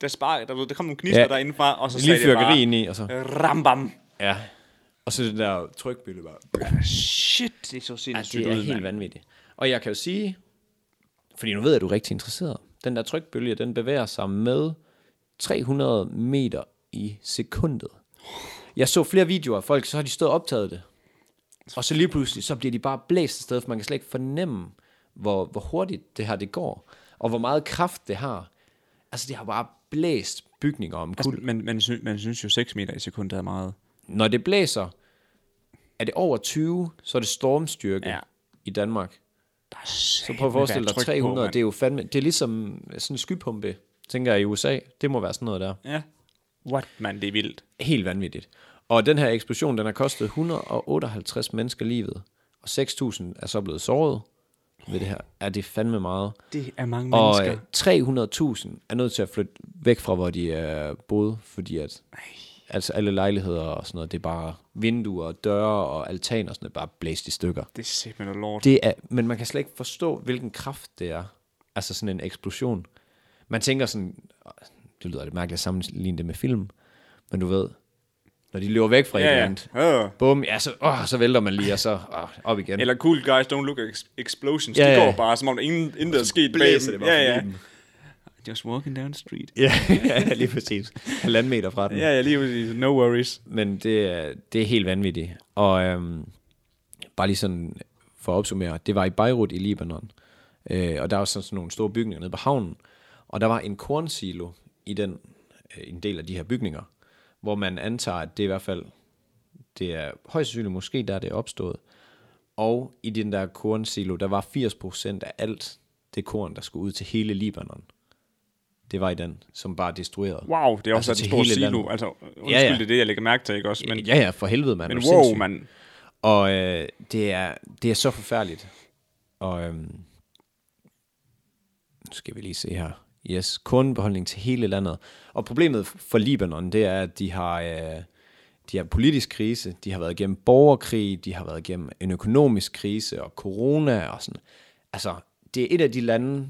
A: der, spark, der, der kom nogle knister ja.
B: Ja.
A: derindefra, og så
B: Lige
A: sagde det bare...
B: fyrkeri ind i, og så...
A: Rambam.
B: Ja. Og så den der trykbølge bare...
A: Shit, det så sindssygt
B: Altså, det er
A: ud,
B: helt
A: mand.
B: vanvittigt. Og jeg kan jo sige, fordi nu ved jeg, at du er rigtig interesseret. Den der trykbølge, den bevæger sig med 300 meter i sekundet. Jeg så flere videoer af folk, så har de stået og optaget det. Og så lige pludselig, så bliver de bare blæst af sted, for man kan slet ikke fornemme, hvor, hvor hurtigt det her det går, og hvor meget kraft det har. Altså, det har bare blæst bygninger om kul.
A: Men man, sy- man synes jo 6 meter i sekundet er meget.
B: Når det blæser, er det over 20, så er det stormstyrke
A: Ja.
B: ja. i Danmark.
A: Der er så
B: Så prøv at forestille dig 300, det er jo fandme, det er ligesom sådan en skypumpe, tænker jeg i USA, det må være sådan noget der.
A: Ja. What, man, det er vildt.
B: Helt vanvittigt. Og den her eksplosion, den har kostet 158 mennesker livet, og 6.000 er så blevet såret ved det her. Er det fandme meget?
A: Det er mange
B: Og øh,
A: mennesker.
B: 300.000 er nødt til at flytte væk fra, hvor de øh, boede, fordi at altså alle lejligheder og sådan noget, det er bare vinduer og døre og altan og sådan noget, bare blæst i stykker.
A: Det er simpelthen noget lort.
B: Det er, men man kan slet ikke forstå, hvilken kraft det er. Altså sådan en eksplosion. Man tænker sådan, det lyder lidt mærkeligt at sammenligne det med film, men du ved, når de løber væk fra
A: Ja,
B: ja, et
A: ja.
B: eller andet.
A: Ja.
B: Bum, ja, så, åh, så vælter man lige, og så åh, op igen.
A: Eller cool guys don't look at ex- explosions.
B: Ja,
A: Ja, ja.
B: ja. Altså,
A: De går bare, som om der ingen, intet er sket bag
B: blæser det
A: dem.
B: bare
A: Ja,
B: forbi
A: ja.
B: dem.
A: Just walking down the street.
B: Ja, ja, lige præcis. Halvanden meter fra den.
A: Ja, ja, lige præcis. No worries.
B: Men det, er- det er helt vanvittigt. Og øhm, bare lige sådan for at opsummere, det var i Beirut i Libanon. Øh, og der var sådan, sådan nogle store bygninger nede på havnen. Og der var en kornsilo i den, øh, en del af de her bygninger, hvor man antager, at det i hvert fald, det er højst sandsynligt måske, der er det er opstået. Og i den der kornsilo, der var 80% af alt det korn, der skulle ud til hele Libanon. Det var i den, som bare destruerede.
A: Wow, det er også
B: Altså
A: altså, en
B: til
A: stor
B: hele
A: silo.
B: landet.
A: Altså, undskyld, ja, ja. det er det, jeg lægger mærke til, ikke også? Men,
B: Men, ja, ja, for helvede, man.
A: men
B: er du
A: wow,
B: sindssyg?
A: man.
B: Og øh, det, er, det er så forfærdeligt. Og øhm, nu skal vi lige se her. Yes, kornbeholdning til hele landet. Og problemet for Libanon, det er, at de har, øh, de har politisk krise, de har været igennem borgerkrig, de har været igennem en økonomisk krise og corona og sådan. Altså, det er et af de lande,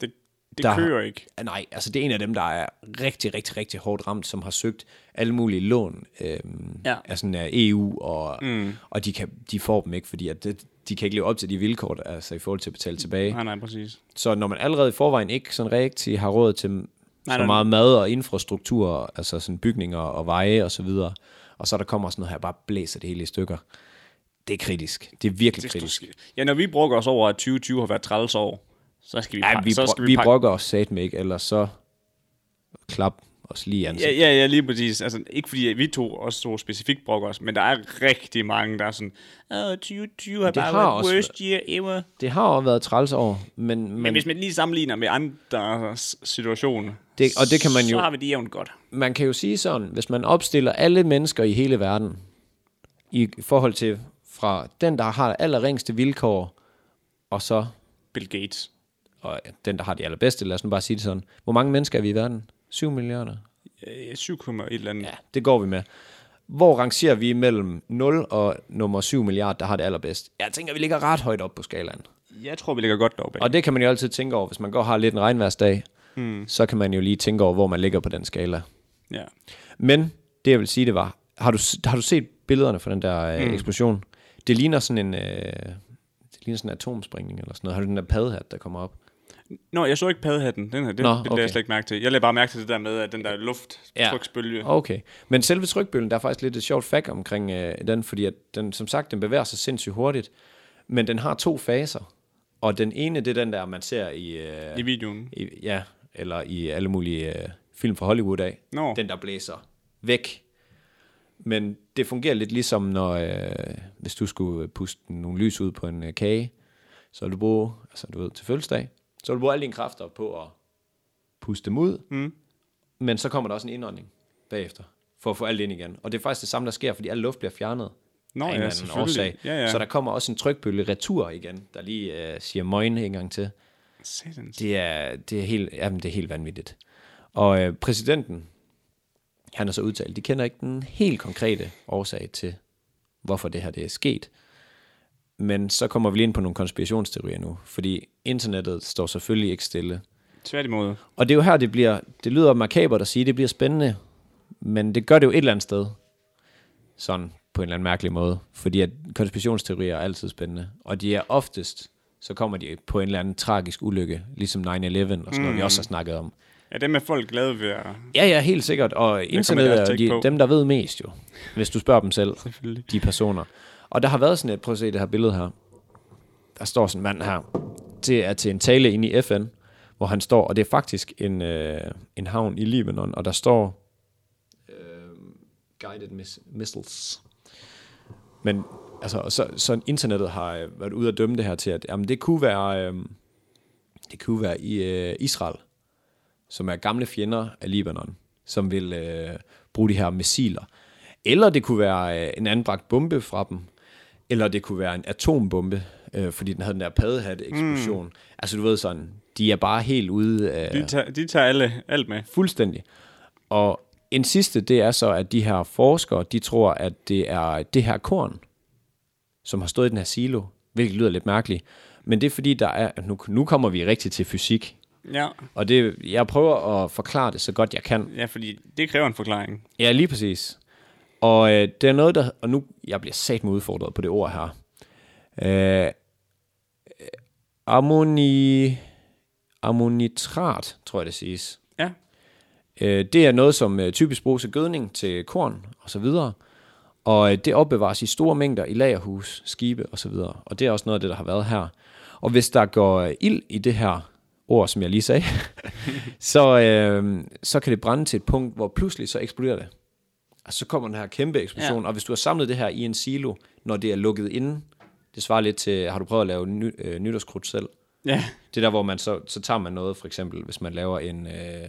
A: Det, det
B: Der-
A: kører ikke.
B: Ah, Nej, altså det er en af dem, der er rigtig, rigtig, rigtig hårdt ramt, som har søgt alle mulige lån øhm,
A: Ja.
B: ja. af sådan, øh, EU, og, mm. og de, kan, de får dem ikke, fordi at det, de kan ikke leve op til de vilkår, der- altså i forhold til at betale tilbage.
A: Nej, nej, præcis.
B: Så når man allerede i forvejen ikke sådan rigtig har råd til nej, så
A: nej.
B: meget mad og infrastruktur, altså sådan bygninger og veje og så videre, og så der kommer sådan noget her, bare blæser det hele i stykker. Det er kritisk. Det er virkelig
A: Det,
B: kritisk.
A: du, ja, når vi brokker os over, at 2020 har været 30 år, så skal vi,
B: Ja,
A: pak-
B: vi,
A: så skal
B: bro- vi
A: pakke-
B: brokker os satme ikke, ellers så klap os lige i ansigtet.
A: Ja, ja, ja, lige præcis. Altså, ikke fordi vi to også to specifikt brokker os, men der er rigtig mange, der er sådan, Åh, 2020 har
B: Det
A: bare
B: har
A: været
B: også
A: worst year ever.
B: Det har også været træls år, men, men,
A: Men
B: men
A: hvis man lige sammenligner med andres situation,
B: Det- og det kan man
A: så
B: jo-
A: har vi det jævnt godt.
B: man kan jo sige sådan, hvis man opstiller alle mennesker i hele verden, i forhold til fra den, der har allerringste vilkår, og så
A: Bill Gates.
B: og den, der har de allerbedste, lad os nu bare sige det sådan. Hvor mange mennesker er vi i verden? 7 milliarder?
A: Øh, 7, et eller andet. Ja.
B: Det går vi med. Hvor rangerer vi mellem 0 og nummer 7 milliard, der har det allerbedst? Jeg tænker, vi ligger ret højt op på skalaen.
A: Jeg tror, vi ligger godt deroppe.
B: Og det kan man jo altid tænke over, hvis man går og har lidt en regnværsdag, hmm. så kan man jo lige tænke over, hvor man ligger på den skala.
A: Ja.
B: Men det jeg vil sige, det var, har du, har du set billederne fra den der øh, mm. eksplosion? Det ligner sådan en, øh, det ligner sådan en atomspringning eller sådan noget. Har du den der paddehat, der kommer op?
A: Nå, jeg så ikke paddehatten. Den her, det,
B: Nå,
A: Nå, okay. det jeg
B: okay.
A: slet ikke mærke til. Jeg lagde bare mærke til det der med, at den der lufttryksbølge. Ja.
B: Okay. Men selve trykbølgen, der er faktisk lidt et sjovt fakt omkring øh, den, fordi at den, som sagt, den bevæger sig sindssygt hurtigt, men den har to faser. Og den ene, det er den der, man ser i, øh,
A: I videoen.
B: i ja, eller i alle mulige øh, film fra Hollywood af.
A: Nå.
B: Den, der blæser væk. Men det fungerer lidt ligesom, når, øh, hvis du skulle øh, puste nogle lys ud på en øh, kage, så vil du bruge, altså du ved, til fødselsdag, så vil du bruge alle dine kræfter på at puste dem ud, mm. men så kommer der også en indånding bagefter, for at få alt ind igen. Og det er faktisk det samme, der sker, fordi al luft bliver fjernet
A: Nå
B: af en
A: ja,
B: eller anden
A: selvfølgelig.
B: årsag.
A: Ja, ja.
B: Så der kommer også en trykbølge retur igen, der lige øh, siger møgen en gang til.
A: Satans.
B: Det er, det er, helt, jamen, det er helt vanvittigt. Og øh, præsidenten, han har så udtalt, de kender ikke den helt konkrete årsag til, hvorfor det her det er sket. Men så kommer vi lige ind på nogle konspirationsteorier nu, fordi internettet står selvfølgelig ikke stille.
A: Tværtimod.
B: Og det er jo her, det bliver, det lyder makabert at sige, det bliver spændende, men det gør det jo et eller andet sted. Sådan, på en eller anden mærkelig måde. Fordi at konspirationsteorier er altid spændende. Og de er oftest, så kommer de på en eller anden tragisk ulykke, ligesom 9-11 og sådan noget, vi også har snakket om.
A: Ja, dem er folk glade ved at...
B: Ja, ja, helt sikkert. Og internet
A: deres
B: er jo
A: take på.
B: de, dem, der ved mest jo, hvis du spørger dem selv,
A: Selvfølgelig.
B: de personer. Og der har været sådan et, prøv at se det her billede her. Der står sådan en mand her, det er til en tale inde i FN, hvor han står, og det er faktisk en, øh, en havn i Libanon, og der står øh, guided miss- missiles. Men altså, og så, så internettet har øh, været ude at dømme det her til, at jamen, det kunne være, øh, det kunne være i øh, Israel, som er gamle fjender af Libanon, som vil øh, bruge de her missiler. Eller det kunne være øh, en anbragt bombe fra dem, eller det kunne være en atombombe, øh, fordi den havde den der paddehat-eksplosion. Mm. Altså du ved sådan, de er bare helt ude af...
A: De, tager, de tager alle, alt med.
B: Fuldstændig. Og en sidste, det er så, at de her forskere, de tror, at det er det her korn, som har stået i den her silo, hvilket lyder lidt mærkeligt. Men det er fordi, der er, nu, nu kommer vi rigtig til fysik,
A: Ja.
B: og det, jeg prøver at forklare det så godt jeg kan.
A: Ja, fordi det kræver en forklaring.
B: Ja, lige præcis. Og øh, det er noget, der... Og nu, jeg bliver sat med udfordret på det ord her. Øh, ammoni, ammonitrat, tror jeg det siges.
A: Ja.
B: Øh, det er noget, som øh, typisk bruges til gødning til korn og så videre. Og øh, det opbevares i store mængder i lagerhus, skibe og så videre. Og det er også noget af det, der har været her. Og hvis der går øh, ild i det her ord, som jeg lige sagde, så, øh, så kan det brænde til et punkt, hvor pludselig så eksploderer det. Og så kommer den her kæmpe eksplosion, ja. og hvis du har samlet det her i en silo, når det er lukket inde, det svarer lidt til, har du prøvet at lave ny, øh, nytårskrudt selv?
A: Ja.
B: Det er der, hvor man så, så tager man noget, for eksempel, hvis man laver en, øh,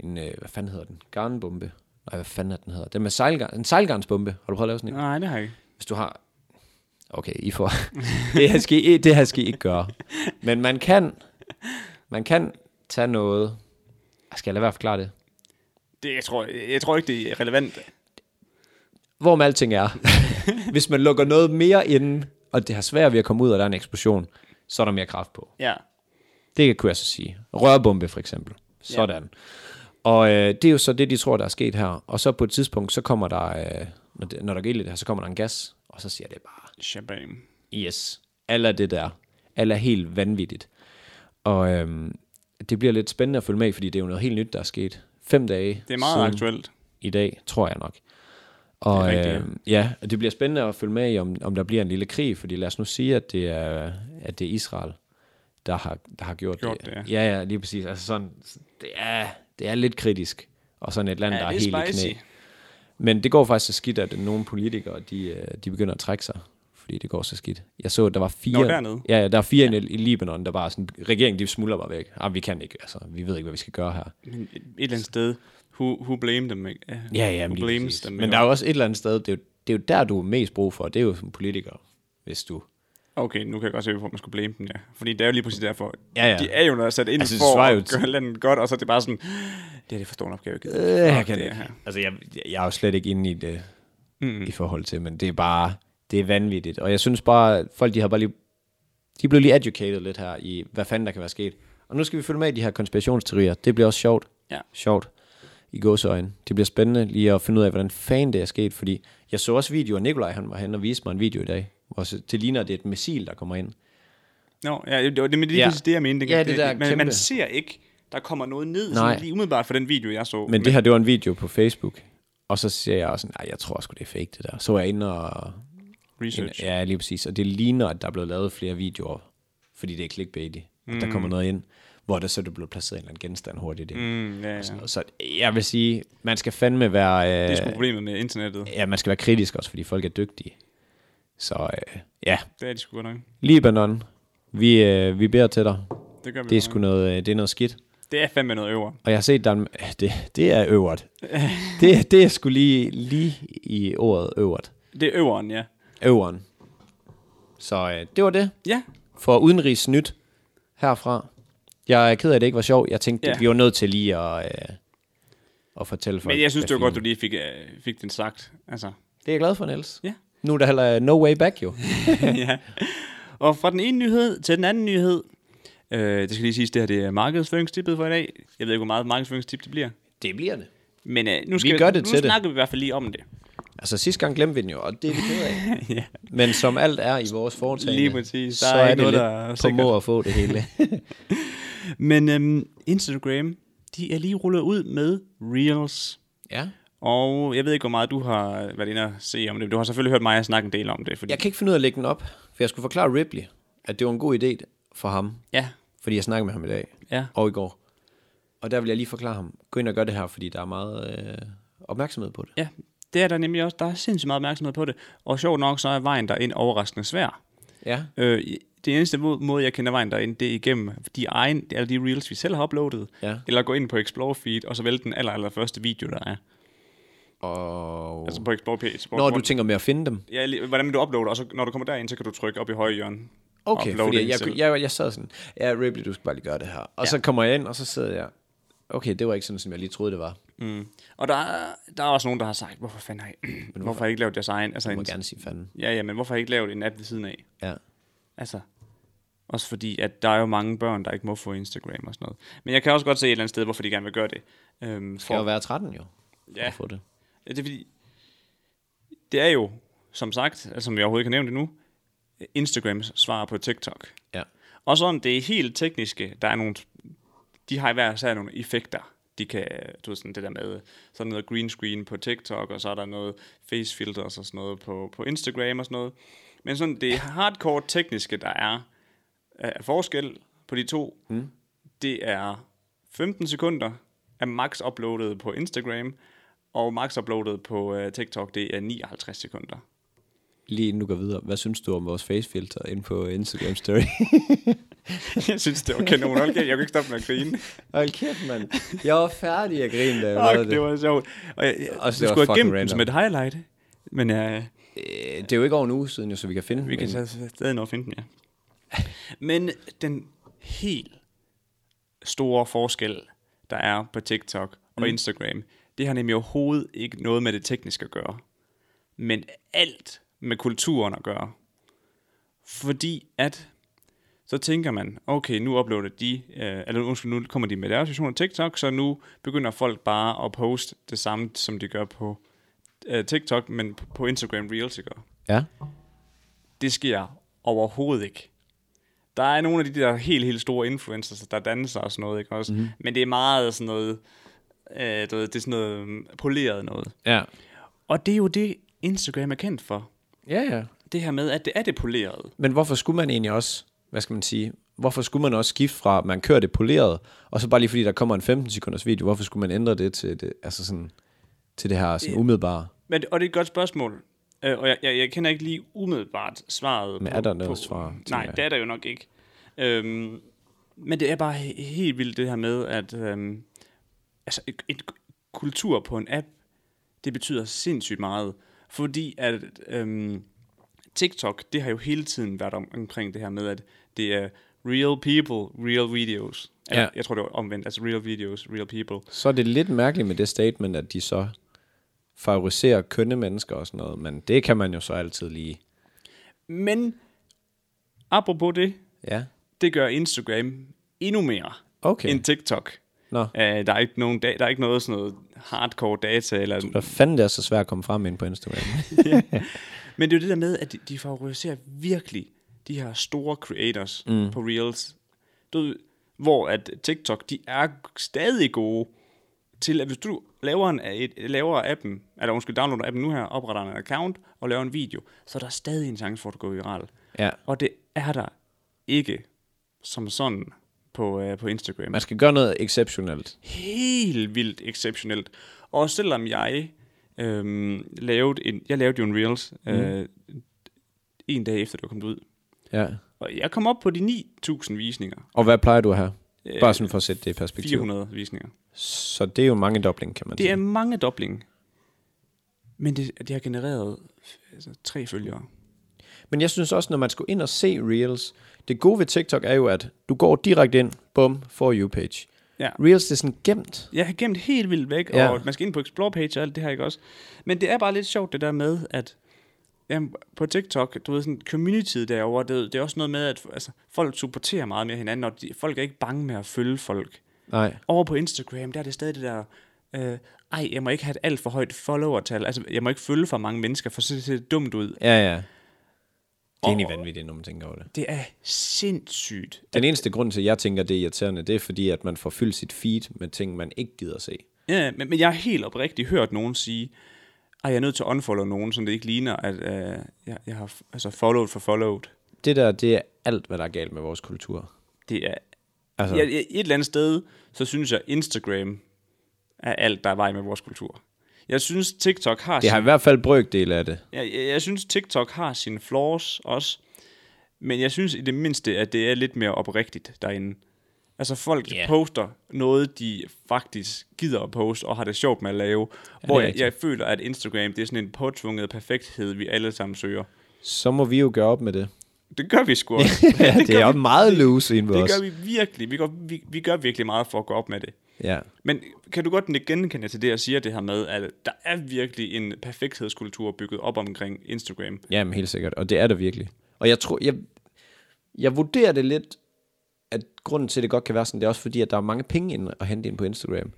B: en øh, hvad fanden hedder den? Garnbombe? Nej, hvad fanden er den hedder? Den med sejlgarn, en sejlgarnsbombe. Har du prøvet at lave sådan en?
A: Nej, det har jeg ikke.
B: Hvis du har... Okay, I får... det, her skal I, det her skal I ikke gøre. Men man kan... Man kan tage noget... Skal jeg lade være at forklare det?
A: det jeg, tror, jeg tror ikke, det er relevant.
B: Hvorom alting er. Hvis man lukker noget mere inde, og det har svært ved at komme ud, og der er en eksplosion, så er der mere kraft på.
A: Ja.
B: Det kunne jeg så sige. Rørbombe for eksempel. Sådan. Og øh, det er jo så det, de tror, der er sket her. Og så på et tidspunkt, så kommer der, øh, når, det, når der går ild i det her, så kommer der en gas, og så siger det bare,
A: Champagne.
B: yes, alt er det der. Alt er helt vanvittigt. Og øhm, det bliver lidt spændende at følge med, fordi det er jo noget helt nyt, der er sket. Fem dage
A: Det er meget
B: siden
A: aktuelt.
B: i dag, tror jeg nok. Og
A: Det er
B: det
A: rigtigt,
B: øh, ja, og det bliver spændende at følge med i, om, om der bliver en lille krig, fordi lad os nu sige, at det er, at det er Israel, der har, der har gjort,
A: Gjort
B: det.
A: det,
B: ja. ja, ja, lige præcis. Altså sådan, det er, det er lidt kritisk, og sådan et land,
A: Ja,
B: der er,
A: det er
B: helt i knæ.
A: spicy.
B: Men det går faktisk så skidt, at nogle politikere, de, øh, de begynder at trække sig, fordi det går så skidt. Jeg så, at der var fire...
A: dernede?
B: Ja, ja, der er fire ja. i Libanon, der bare sådan... Regeringen, de smuldrer bare væk. Ah, vi kan ikke, altså. Vi ved ikke, hvad vi skal gøre her.
A: Men et, et eller andet sted, who, who blame them? ikke? Uh,
B: Ja, ja,
A: who
B: men, lige
A: blames
B: præcis.
A: them?
B: men
A: ikke?
B: der er jo også et eller andet sted, det er, jo, det er jo der, du er mest brug for, det er jo som politiker, hvis du...
A: Okay, nu kan jeg godt se, hvorfor man skulle blame dem, ja. Fordi det er jo lige præcis derfor.
B: Ja, ja.
A: De er jo noget sat ind altså,
B: Altså, det
A: for
B: svarer jo
A: at gøre landet godt, og så er det bare sådan, det er det forstående opgave, jeg gider.
B: Øh, jeg
A: Fuck
B: kan
A: det
B: ikke.
A: her.
B: Altså, jeg, jeg er jo slet ikke inde i det mm. i forhold til, men det er bare, det er vanvittigt. Og jeg synes bare, at folk, de har bare lige, de blev lige educated lidt her i, hvad fanden der kan være sket. Og nu skal vi følge med i de her konspirationsteorier. Det bliver også sjovt.
A: Ja.
B: Sjovt. I gåseøjne. Det bliver spændende lige at finde ud af, hvordan fanden det er sket, fordi jeg så også videoer, Nikolaj han var hen og viste mig en video i dag, hvor så- det ligner, at det er et missil, der kommer ind.
A: Nå, ja, det var det, men det er lige
B: Ja.
A: præcis det, jeg mente. ikke?
B: Ja, det der
A: man,
B: kæmpe-
A: man ser ikke, der kommer noget ned,
B: Nej.
A: sådan lige umiddelbart fra den video, jeg så.
B: Men det her, det var en video på Facebook. Og så siger jeg også, nej, jeg tror sgu, det er fake, det der. Så var jeg inde og...
A: research.
B: Ja, lige præcis. Og det ligner, at der er blevet lavet flere videoer, fordi det er clickbaity. Mm. At der kommer noget ind, hvor der så er det blevet placeret en eller anden genstand hurtigt. Mm.
A: Mm, ja, ja. Det
B: Så jeg vil sige, man skal fandme være... Øh,
A: er sgu problemet med internettet.
B: ja, man skal være kritisk også, fordi folk er dygtige. Så øh, ja,
A: Det er de sgu godt nok.
B: Libanon, vi, øh, vi beder til dig.
A: Det gør vi
B: Det er
A: godt nok.
B: sgu noget, øh, det er noget skidt.
A: Det er fandme noget øver.
B: Og jeg har set, der er en, det, det er øvert. Det, det er sgu lige, lige i ordet øvert.
A: Det er øveren, ja.
B: Øveren. Så øh, det var det
A: Ja,
B: for udenrigs nyt herfra. Jeg er ked af, at det ikke var sjovt. Jeg tænkte,
A: Ja.
B: ja. vi var nødt til lige at, øh, at fortælle folk.
A: men jeg synes, det
B: hvad
A: var godt, du
B: fint-
A: lige fik, øh, fik den sagt. Altså,
B: Det er jeg glad for, Niels.
A: ja.
B: Nu er der heller øh, no way back, jo.
A: ja. Og fra den ene nyhed til den anden nyhed. Øh, det skal lige siges, det her det er markedsføringstippet for i dag. Jeg ved ikke, hvor meget markedsføringstip det bliver.
B: Det bliver det.
A: Men øh, nu, skal,
B: gør det
A: nu
B: til det.
A: snakker vi i hvert fald lige om det.
B: Altså sidste gang glemte vi den jo, og det er vi ked af.
A: ja.
B: Men som alt er i vores foretagende,
A: Lige præcis. Der
B: så
A: er
B: er
A: ikke noget,
B: det
A: der er
B: lidt på må at få det hele.
A: Men øhm, Instagram, de er lige rullet ud med Reels.
B: ja.
A: Og jeg ved ikke, hvor meget du har været inde og se om det. Du har selvfølgelig hørt mig snakke en del om det. Fordi,
B: Jeg kan ikke finde ud af at lægge den op, for jeg skulle forklare Ripley, at det var en god idé for ham,
A: ja,
B: fordi jeg snakkede med ham i dag
A: ja.
B: og i går. Og der vil jeg lige forklare ham, gå ind og gør det her, fordi der er meget øh, opmærksomhed på det.
A: Ja, det er der nemlig også. Der er sindssygt meget opmærksomhed på det. Og sjovt nok, så er vejen derind overraskende svær.
B: Ja.
A: Øh, det eneste må- måde, jeg kender vejen derind, det er igennem de, egen, alle de reels, vi selv har uploadet.
B: Ja.
A: Eller gå ind på Explore feed, og så vælge den aller, aller første video, der er.
B: Og...
A: Altså på Explore page. hvor-
B: Når
A: hvor-
B: du tænker med at finde dem.
A: Ja, lige- hvordan du uploader, og så når du kommer derind, så kan du trykke op i højre hjørne. og
B: Okay,
A: uploade
B: fordi
A: en
B: jeg,
A: selv.
B: jeg, jeg, jeg sad sådan, ja, Ripley, du skal bare lige gøre det her. Og
A: Ja.
B: ja. så kommer jeg ind, og så sidder jeg, okay, det var ikke sådan, som jeg lige troede, det var.
A: Mm. Og der, er- der er også nogen, der har sagt, hvorfor fanden har I, hvorfor, har I ikke lavet jeres egen? Altså,
B: Jeg må
A: en,
B: gerne sige fanden.
A: ja, ja, men hvorfor har I ikke lavet en app ved siden af?
B: Ja.
A: Altså, også fordi, at der er jo mange børn, der ikke må få Instagram og sådan noget. Men jeg kan også godt se et eller andet sted, hvorfor de gerne vil gøre det. Øhm,
B: Skal jo være 13 jo, for
A: Ja.
B: at få det.
A: Ja, det er fordi, det er jo, som sagt, altså, som jeg overhovedet kan nævne det nu, Instagrams svar på TikTok.
B: Ja.
A: Og sådan det er helt tekniske, der er nogle, de har i hver sær nogle effekter. De kan, du ved, sådan det der med, så er der noget green screen på TikTok, og så er der noget face filters og sådan noget på, på Instagram og sådan noget. Men sådan det hardcore tekniske, der er af forskel på de to, mm. det er 15 sekunder er max uploadet på Instagram, og max uploadet på øh, TikTok, det er 59 sekunder.
B: Lige inden du går videre, hvad synes du om vores facefilter inde på Instagram Story?
A: jeg synes, det var kanon. Hold kæft, jeg kunne ikke stoppe med at grine.
B: Hold kæft, mand. Jeg var færdig at grine, da jeg
A: Fuck,
B: lavede
A: det var sjovt. Og jeg, jeg,
B: Også
A: du
B: det var
A: skulle have
B: fucking
A: gemt den
B: random.
A: som et highlight. Men jeg,
B: Øh, Det er jo ikke over en uge siden, jo, så vi kan finde
A: vi
B: den.
A: kan så øh, stadig nå at finde den, ja. Men den helt store forskel, der er på TikTok og Instagram, det har nemlig overhovedet ikke noget med det tekniske at gøre. Men alt med kulturen at gøre. Fordi at, så tænker man, okay, nu uploader de, øh, eller undskyld, nu kommer de med deres version af TikTok, så nu begynder folk bare at poste det samme, som de gør på øh, TikTok, men på- på Instagram Reels, ikke?
B: Ja.
A: det sker overhovedet ikke. Der er nogle af de der helt, helt store influencers, der danser og sådan noget, ikke også? Mm-hmm. Men det er meget sådan noget, øh, du ved, det er sådan noget mm, poleret noget.
B: Ja.
A: Og det er jo det, Instagram er kendt for.
B: Ja, ja.
A: Det her med, at det er det polerede.
B: Men hvorfor skulle man egentlig også, hvad skal man sige, hvorfor skulle man også skifte fra, at man kører det poleret, og så bare lige fordi der kommer en 15 sekunders video, hvorfor skulle man ændre det til det, altså sådan, til det her sådan umiddelbare?
A: Men, og det er et godt spørgsmål. Øh, og jeg, jeg, jeg kender ikke lige umiddelbart svaret.
B: Men
A: på-
B: er der noget
A: på-
B: svar, tænker
A: Nej,
B: jeg?
A: det er der jo nok ikke. Øhm, men det er bare he- helt vildt det her med, at øhm, altså et, et kultur på en app, det betyder sindssygt meget. Fordi at øhm, TikTok, det har jo hele tiden været om, omkring det her med, at det er real people, real videos. Eller,
B: Ja.
A: Jeg tror, det var omvendt. Altså real videos, real people.
B: Så er det lidt mærkeligt med det statement, at de så favoriserer kønne mennesker og sådan noget, men det kan man jo så altid lige.
A: Men apropos det,
B: Ja.
A: det gør Instagram endnu mere
B: Okay.
A: okay. end TikTok.
B: Nå.
A: Uh, der, er ikke nogen da- der er ikke noget sådan noget hardcore data. Eller,
B: Hvad fanden det er så svært at komme frem ind på Instagram?
A: men det er jo det der med, at de, de favoriserer virkelig de her store creators mm. på Reels. Du, ved, hvor at TikTok, de er stadig gode til, at hvis du laver, en, et, laver appen, eller undskyld, downloader appen nu her, opretter en account og laver en video, så er der stadig en chance for, at du går viral.
B: ja.
A: Og det er der ikke som sådan på, øh, på Instagram.
B: Man skal gøre noget exceptionelt.
A: helt vildt exceptionelt. Og selvom jeg øhm, lavede en, jeg lavede jo en Reels øh, en dag efter det var kommet ud,
B: Ja.
A: og jeg kom op på de 9.000 visninger,
B: Og hvad plejer du at have?
A: Øh,
B: Bare sådan for at sætte det i perspektiv.
A: 400 visninger.
B: Så det er jo mange dobling, kan man
A: Det
B: sige.
A: er mange dobling. Men det, det har genereret altså, tre følgere.
B: Men jeg synes også, når man skulle ind og se Reels, det gode ved TikTok er jo, at du går direkte ind, bum, for you page.
A: Ja.
B: Reels, det er sådan gemt.
A: Jeg har gemt helt vildt væk,
B: Ja.
A: ja. og man skal ind på Explore page og alt det her, ikke også? Men det er bare lidt sjovt det der med, at jamen, på TikTok, du ved sådan, communityet derovre, det, det er også noget med, at altså, folk supporterer meget mere hinanden, og de, folk er ikke bange med at følge folk.
B: Nej.
A: Over på Instagram, der er det stadig det der, øh, ej, jeg må ikke have et alt for højt followertal, altså jeg må ikke følge for mange mennesker, for så ser det dumt ud.
B: Ja, ja. Det er egentlig vanvittigt, når man tænker over det.
A: Det er sindssygt.
B: Den eneste grund til, at jeg tænker, det er irriterende, det er fordi, at man får fyldt sit feed med ting, man ikke gider se.
A: Ja, men, men jeg har helt oprigtigt hørt nogen sige, at jeg er nødt til at unfollow nogen, så det ikke ligner, at øh, jeg, jeg har f- altså followed for followed.
B: Det der, det er alt, hvad der er galt med vores kultur.
A: Det er...
B: Altså.
A: Altså. Jeg, jeg, et eller andet sted, så synes jeg, Instagram er alt, der er vej med vores kultur. Jeg synes, TikTok har,
B: Det
A: sin,
B: har i hvert fald brøkdel af det.
A: jeg, jeg, jeg synes, TikTok har sine flaws også, men jeg synes i det mindste, at det er lidt mere oprigtigt derinde. Altså folk
B: Ja.
A: yeah. poster noget, de faktisk gider at poste og har det sjovt med at lave. Ja, hvor jeg,
B: rigtigt.
A: jeg føler, at Instagram det er sådan en påtvunget perfekthed, vi alle sammen søger.
B: Så må vi jo gøre op med det.
A: Det gør vi sgu også.
B: ja, det er jo meget loose inde ved
A: det
B: os.
A: gør vi virkelig. Vi gør, vi, vi gør virkelig meget for at gå op med det.
B: Ja.
A: Men kan du godt genkende til det, jeg siger det her med, at der er virkelig en perfekthedskultur bygget op omkring Instagram?
B: Jamen helt sikkert, og det er der virkelig. Og jeg tror, jeg, jeg vurderer det lidt, at grunden til, at det godt kan være sådan, det er også fordi, at der er mange penge ind at hente ind på Instagram.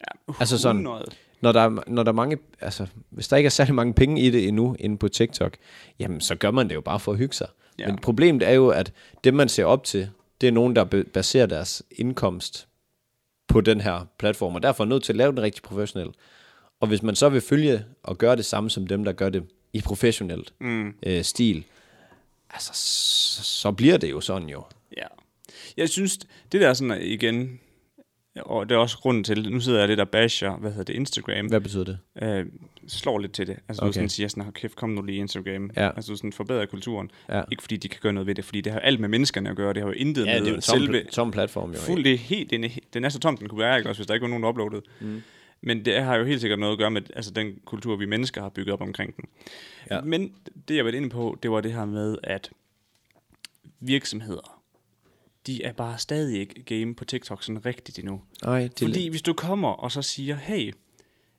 A: Ja,
B: Altså sådan,
A: 100.
B: når der, er- når der er mange, altså, hvis der ikke er særlig mange penge i det endnu inde på TikTok, jamen så gør man det jo bare for at hygge sig.
A: Ja.
B: Ja. Men problemet er jo, at det man ser op til, det er nogen, der be- baserer deres indkomst på den her platform, og derfor er nødt til at lave den rigtig professionelt. Og hvis man så vil følge og gøre det samme som dem, der gør det i professionelt mm. øh, stil, altså, så, så bliver det jo sådan jo.
A: Ja. Jeg synes, det der sådan igen, og det er også grunden til, nu sidder jeg lidt og basher, hvad hedder det, Instagram,
B: Hvad betyder det?
A: øh, slår lidt til det. Altså okay. du sådan siger sådan, "Hold kæft, kom nu lige Instagram.
B: Ja.
A: Altså du sådan forbedrer kulturen.
B: Ja.
A: Ikke fordi de kan gøre noget ved det, fordi det har alt med menneskerne at gøre, det har jo intet
B: Ja,
A: med
B: det er jo en tom,
A: selve...
B: pl- tom platform jo.
A: Fuld, det er helt, den, er, he- den er så tom, den kunne være, ikke? Også hvis der ikke var nogen, der uploadede. Mm. Men det har jo helt sikkert noget at gøre med altså, den kultur, vi mennesker har bygget op omkring den.
B: Ja.
A: Men det, jeg var inde på, det var det her med, at virksomheder, de er bare stadig ikke game på TikTok sådan rigtigt endnu.
B: Nej, det,
A: Fordi hvis du kommer og så siger, hey,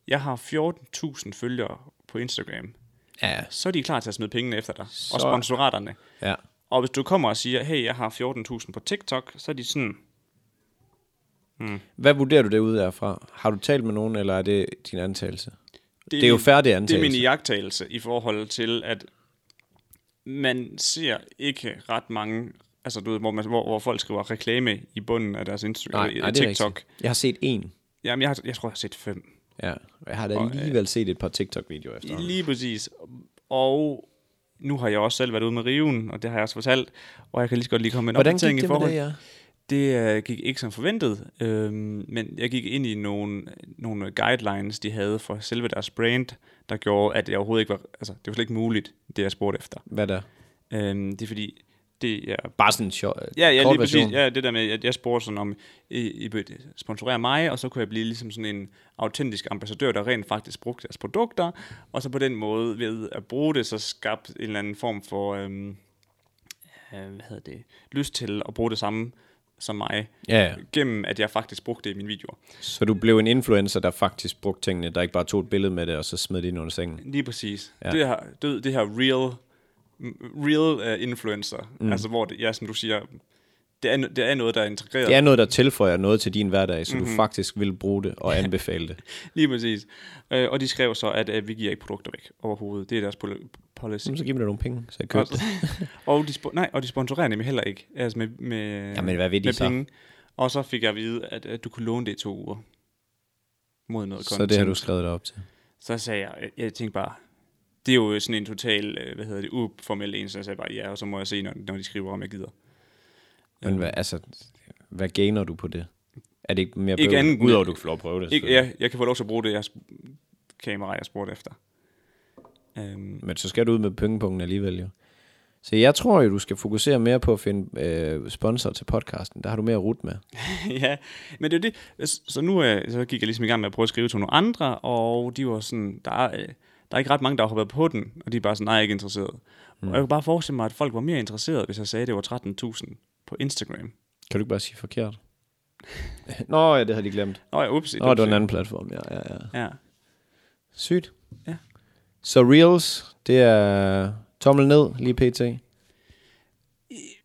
A: jeg har 14.000 følgere på Instagram,
B: ja,
A: så er de klar til at smide pengene efter dig, så... og
B: Så-
A: sponsoraterne.
B: ja,
A: Og hvis du kommer og siger, hey, jeg har 14.000 på TikTok, så er de sådan,
B: Hvad vurderer du det ud derfra? Har du talt med nogen, eller er det din antagelse? Det er jo
A: min-
B: færdig
A: Det er min
B: antagelse.
A: iagtagelse i forhold til, at man ser ikke ret mange, altså du ved, hvor, man, hvor, hvor folk skriver reklame i bunden af deres Instagram,
B: Nej,
A: eller
B: nej, det er
A: TikTok.
B: TikTok. rigtigt. Jeg har set en.
A: Jamen, jeg, har, jeg tror, jeg har set fem.
B: Ja, og jeg har da alligevel set et par TikTok-videoer efter.
A: øh, Lige præcis. Og nu har jeg også selv været ude med riven, og det har jeg også fortalt, og jeg kan lige så godt lige komme med en
B: Hvordan
A: opdatering
B: gik
A: i
B: det med
A: forhold.
B: det, ja?
A: Det øh, gik ikke som forventet, øhm, men jeg gik ind i nogle, nogle guidelines, de havde for selve deres brand, der gjorde, at jeg overhovedet ikke var, altså det var slet ikke muligt, det jeg spurgte efter.
B: Hvad der?
A: Øhm, det er fordi, det er...
B: Bare sådan en sjov,
A: Ja, ja,
B: kort
A: lige præcis.
B: version.
A: Ja, det der med, at jeg spurgte sådan om, I, I vil sponsorere mig, og så kunne jeg blive ligesom sådan en autentisk ambassadør, der rent faktisk brugte deres produkter, og så på den måde, ved at bruge det, så skabte en eller anden form for, øhm, øh, hvad hedder det, lyst til at bruge det samme som mig,
B: Ja, ja.
A: gennem at jeg faktisk brugte det i mine videoer.
B: Så du blev en influencer, der faktisk brugte tingene, der ikke bare tog et billede med det, og så smed det ind under sengen.
A: Lige præcis. Ja. Det, her, det, det her real, m- real uh, influencer, mm. altså hvor det, ja, som du siger, det er, no- det er noget, der er integreret.
B: Det er noget, der tilføjer noget til din hverdag, så
A: Mhm.
B: mm-hmm. du faktisk vil bruge det og anbefale det.
A: Lige præcis. Øh, og de skrev så, at øh, vi giver ikke produkter væk overhovedet. Det er deres pol- policy.
B: Så giv mig da nogle penge, så jeg køber det.
A: og, de spo- nej, og de sponsorerer nemlig heller ikke. Altså med, med,
B: Jamen, hvad ved de
A: med
B: så?
A: penge. Og så fik jeg at vide, at, at du kunne låne det i to uger. Mod noget
B: Så det har du skrevet dig op til.
A: Så sagde jeg, øh, jeg, jeg tænkte bare, det er jo sådan en total, øh, hvad hedder det, uformel en, så jeg sagde bare, ja, og så må jeg se, når, når de skriver, om jeg gider.
B: Men hvad, altså, hvad gainer du på det? Er det ikke mere
A: Ikke
B: bøvl?
A: andet end-
B: Udover at du får lov at prøve det.
A: Ikke,
B: selvfølgelig.
A: jeg, jeg kan få lov til at bruge det jeg sp- kamera, jeg spurgte efter. Øhm,
B: Men så skal du ud med pengepunkten alligevel jo. Så jeg tror jo, du skal fokusere mere på at finde øh, sponsor til podcasten. Der har du mere rut med.
A: ja, men det er jo det. S- Så nu øh, så gik jeg ligesom i gang med at prøve at skrive til nogle andre, og de var sådan, der er, øh, der er ikke ret mange, der har hoppet på den, og de er bare sådan, nej, jeg er ikke interesseret. Mm. Og jeg kunne bare forestille mig, at folk var mere interesserede, hvis jeg sagde, at det var 13.000 på Instagram.
B: Kan du ikke bare sige forkert? Nå ja, det havde de glemt.
A: Nå, jeg upsi.
B: Nå, det var en anden platform, ja, ja, ja.
A: Ja,
B: Sygt.
A: Ja.
B: Så Reels, det er tommel ned lige pt.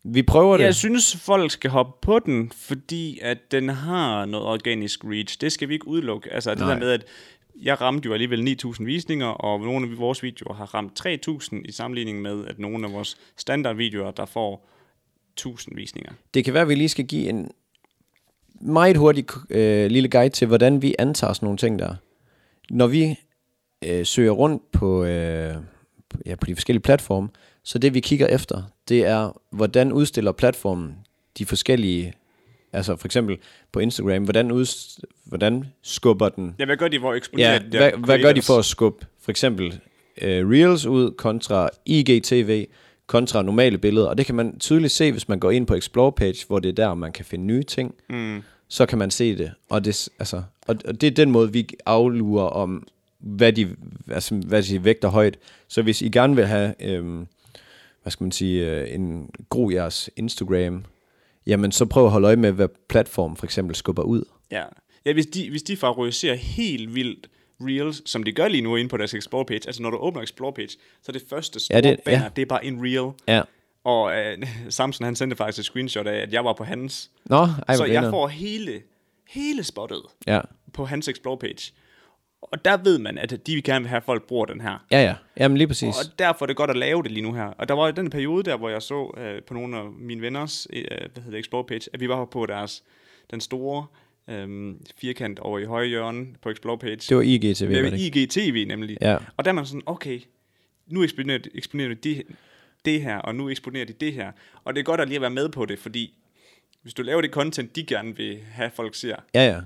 B: Vi prøver det.
A: Jeg synes, folk skal hoppe på den, fordi at den har noget organisk reach. Det skal vi ikke udelukke. Altså det
B: Nej.
A: der med, at jeg ramte jo alligevel 9.000 visninger, og nogle af vores videoer har ramt 3.000 i sammenligning med, at nogle af vores standardvideoer, der får 1.000 visninger.
B: Det kan være, at vi lige skal give en meget hurtig øh, lille guide til, hvordan vi antager sådan nogle ting der. Når vi øh, søger rundt på, øh, ja, på de forskellige platforme, så det vi kigger efter, det er, hvordan udstiller platformen de forskellige, altså for eksempel på Instagram, hvordan, udst- hvordan skubber den
A: Ja, hvad gør de, hvor eksponerer
B: Ja,
A: de der
B: hvad, hvad gør de
A: creators?
B: for at skubbe for eksempel øh, Reels ud kontra IGTV kontra normale billeder? Og det kan man tydeligt se, hvis man går ind på Explore page, hvor det er der, man kan finde nye ting. Mm. Så kan man se det. Og det, s- altså, og, og det er den måde, vi aflurer om, hvad de, altså, hvad de vægter højt. Så hvis I gerne vil have, øhm, hvad skal man sige, øh, en gro jeres Instagram, jamen så prøv at holde øje med, hvad platformen for eksempel skubber ud.
A: Ja, ja hvis, de, hvis de favoriserer helt vildt reels, som de gør lige nu inde på deres explore page, altså når du åbner explore page, så er det første store
B: Ja,
A: ja,
B: det-
A: det,
B: ja.
A: banner, det er bare en reel.
B: Ja.
A: Og øh, Samson, han sendte faktisk et screenshot af, at jeg var på hans.
B: Nå, ej, hvor
A: så jeg
B: grineren.
A: får hele, hele spottet
B: Ja.
A: på hans explore page. Og der ved man, at de gerne vil have, at folk bruger den her.
B: Ja, ja. Jamen lige præcis.
A: Og derfor er det godt at lave det lige nu her. Og der var jo den periode der, hvor jeg så øh, på nogle af mine venners øh, hvad hedder det, Explore page, at vi var på deres, den store øh, firkant over i højre hjørne på Explore page.
B: Det var IGTV,
A: Det
B: var
A: var
B: det ikke?
A: IGTV nemlig.
B: Ja.
A: Og der er man sådan, okay, nu eksponerer, eksponerer de det, det her, og nu eksponerer de det her. Og det er godt at lige at være med på det, fordi hvis du laver det content, de gerne vil have folk ser,
B: Ja, ja.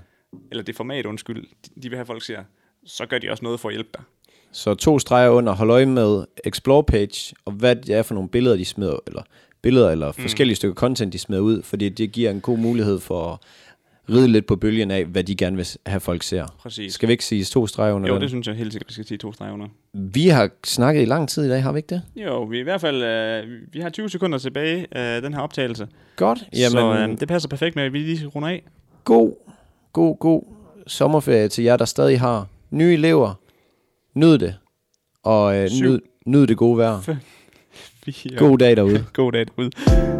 A: eller det format, undskyld, de- de vil have folk ser, så gør de også noget for at hjælpe dig.
B: Så to streger under, hold øje med Explore page, og hvad det er for nogle billeder, de smider, eller billeder eller mm. forskellige stykker content, de smider ud, fordi det giver en god mulighed for at ride lidt på bølgen af, hvad de gerne vil s- have folk ser.
A: Præcis.
B: Skal vi ikke sige to streger under
A: Jo,
B: den?
A: det synes jeg helt sikkert, vi skal sige to streger under.
B: Vi har snakket i lang tid i dag, har vi ikke det?
A: Jo, vi er i hvert fald, øh, vi har 20 sekunder tilbage af den her optagelse.
B: Godt. Jamen,
A: så øh, det passer perfekt med, at vi lige runder af.
B: god, god, god sommerferie til jer, der stadig har nye elever. Nyd det. Og øh,
A: Syv.
B: nyd, nyd det gode vejr.
A: Fire.
B: God dag derude.
A: øh, God dag derude.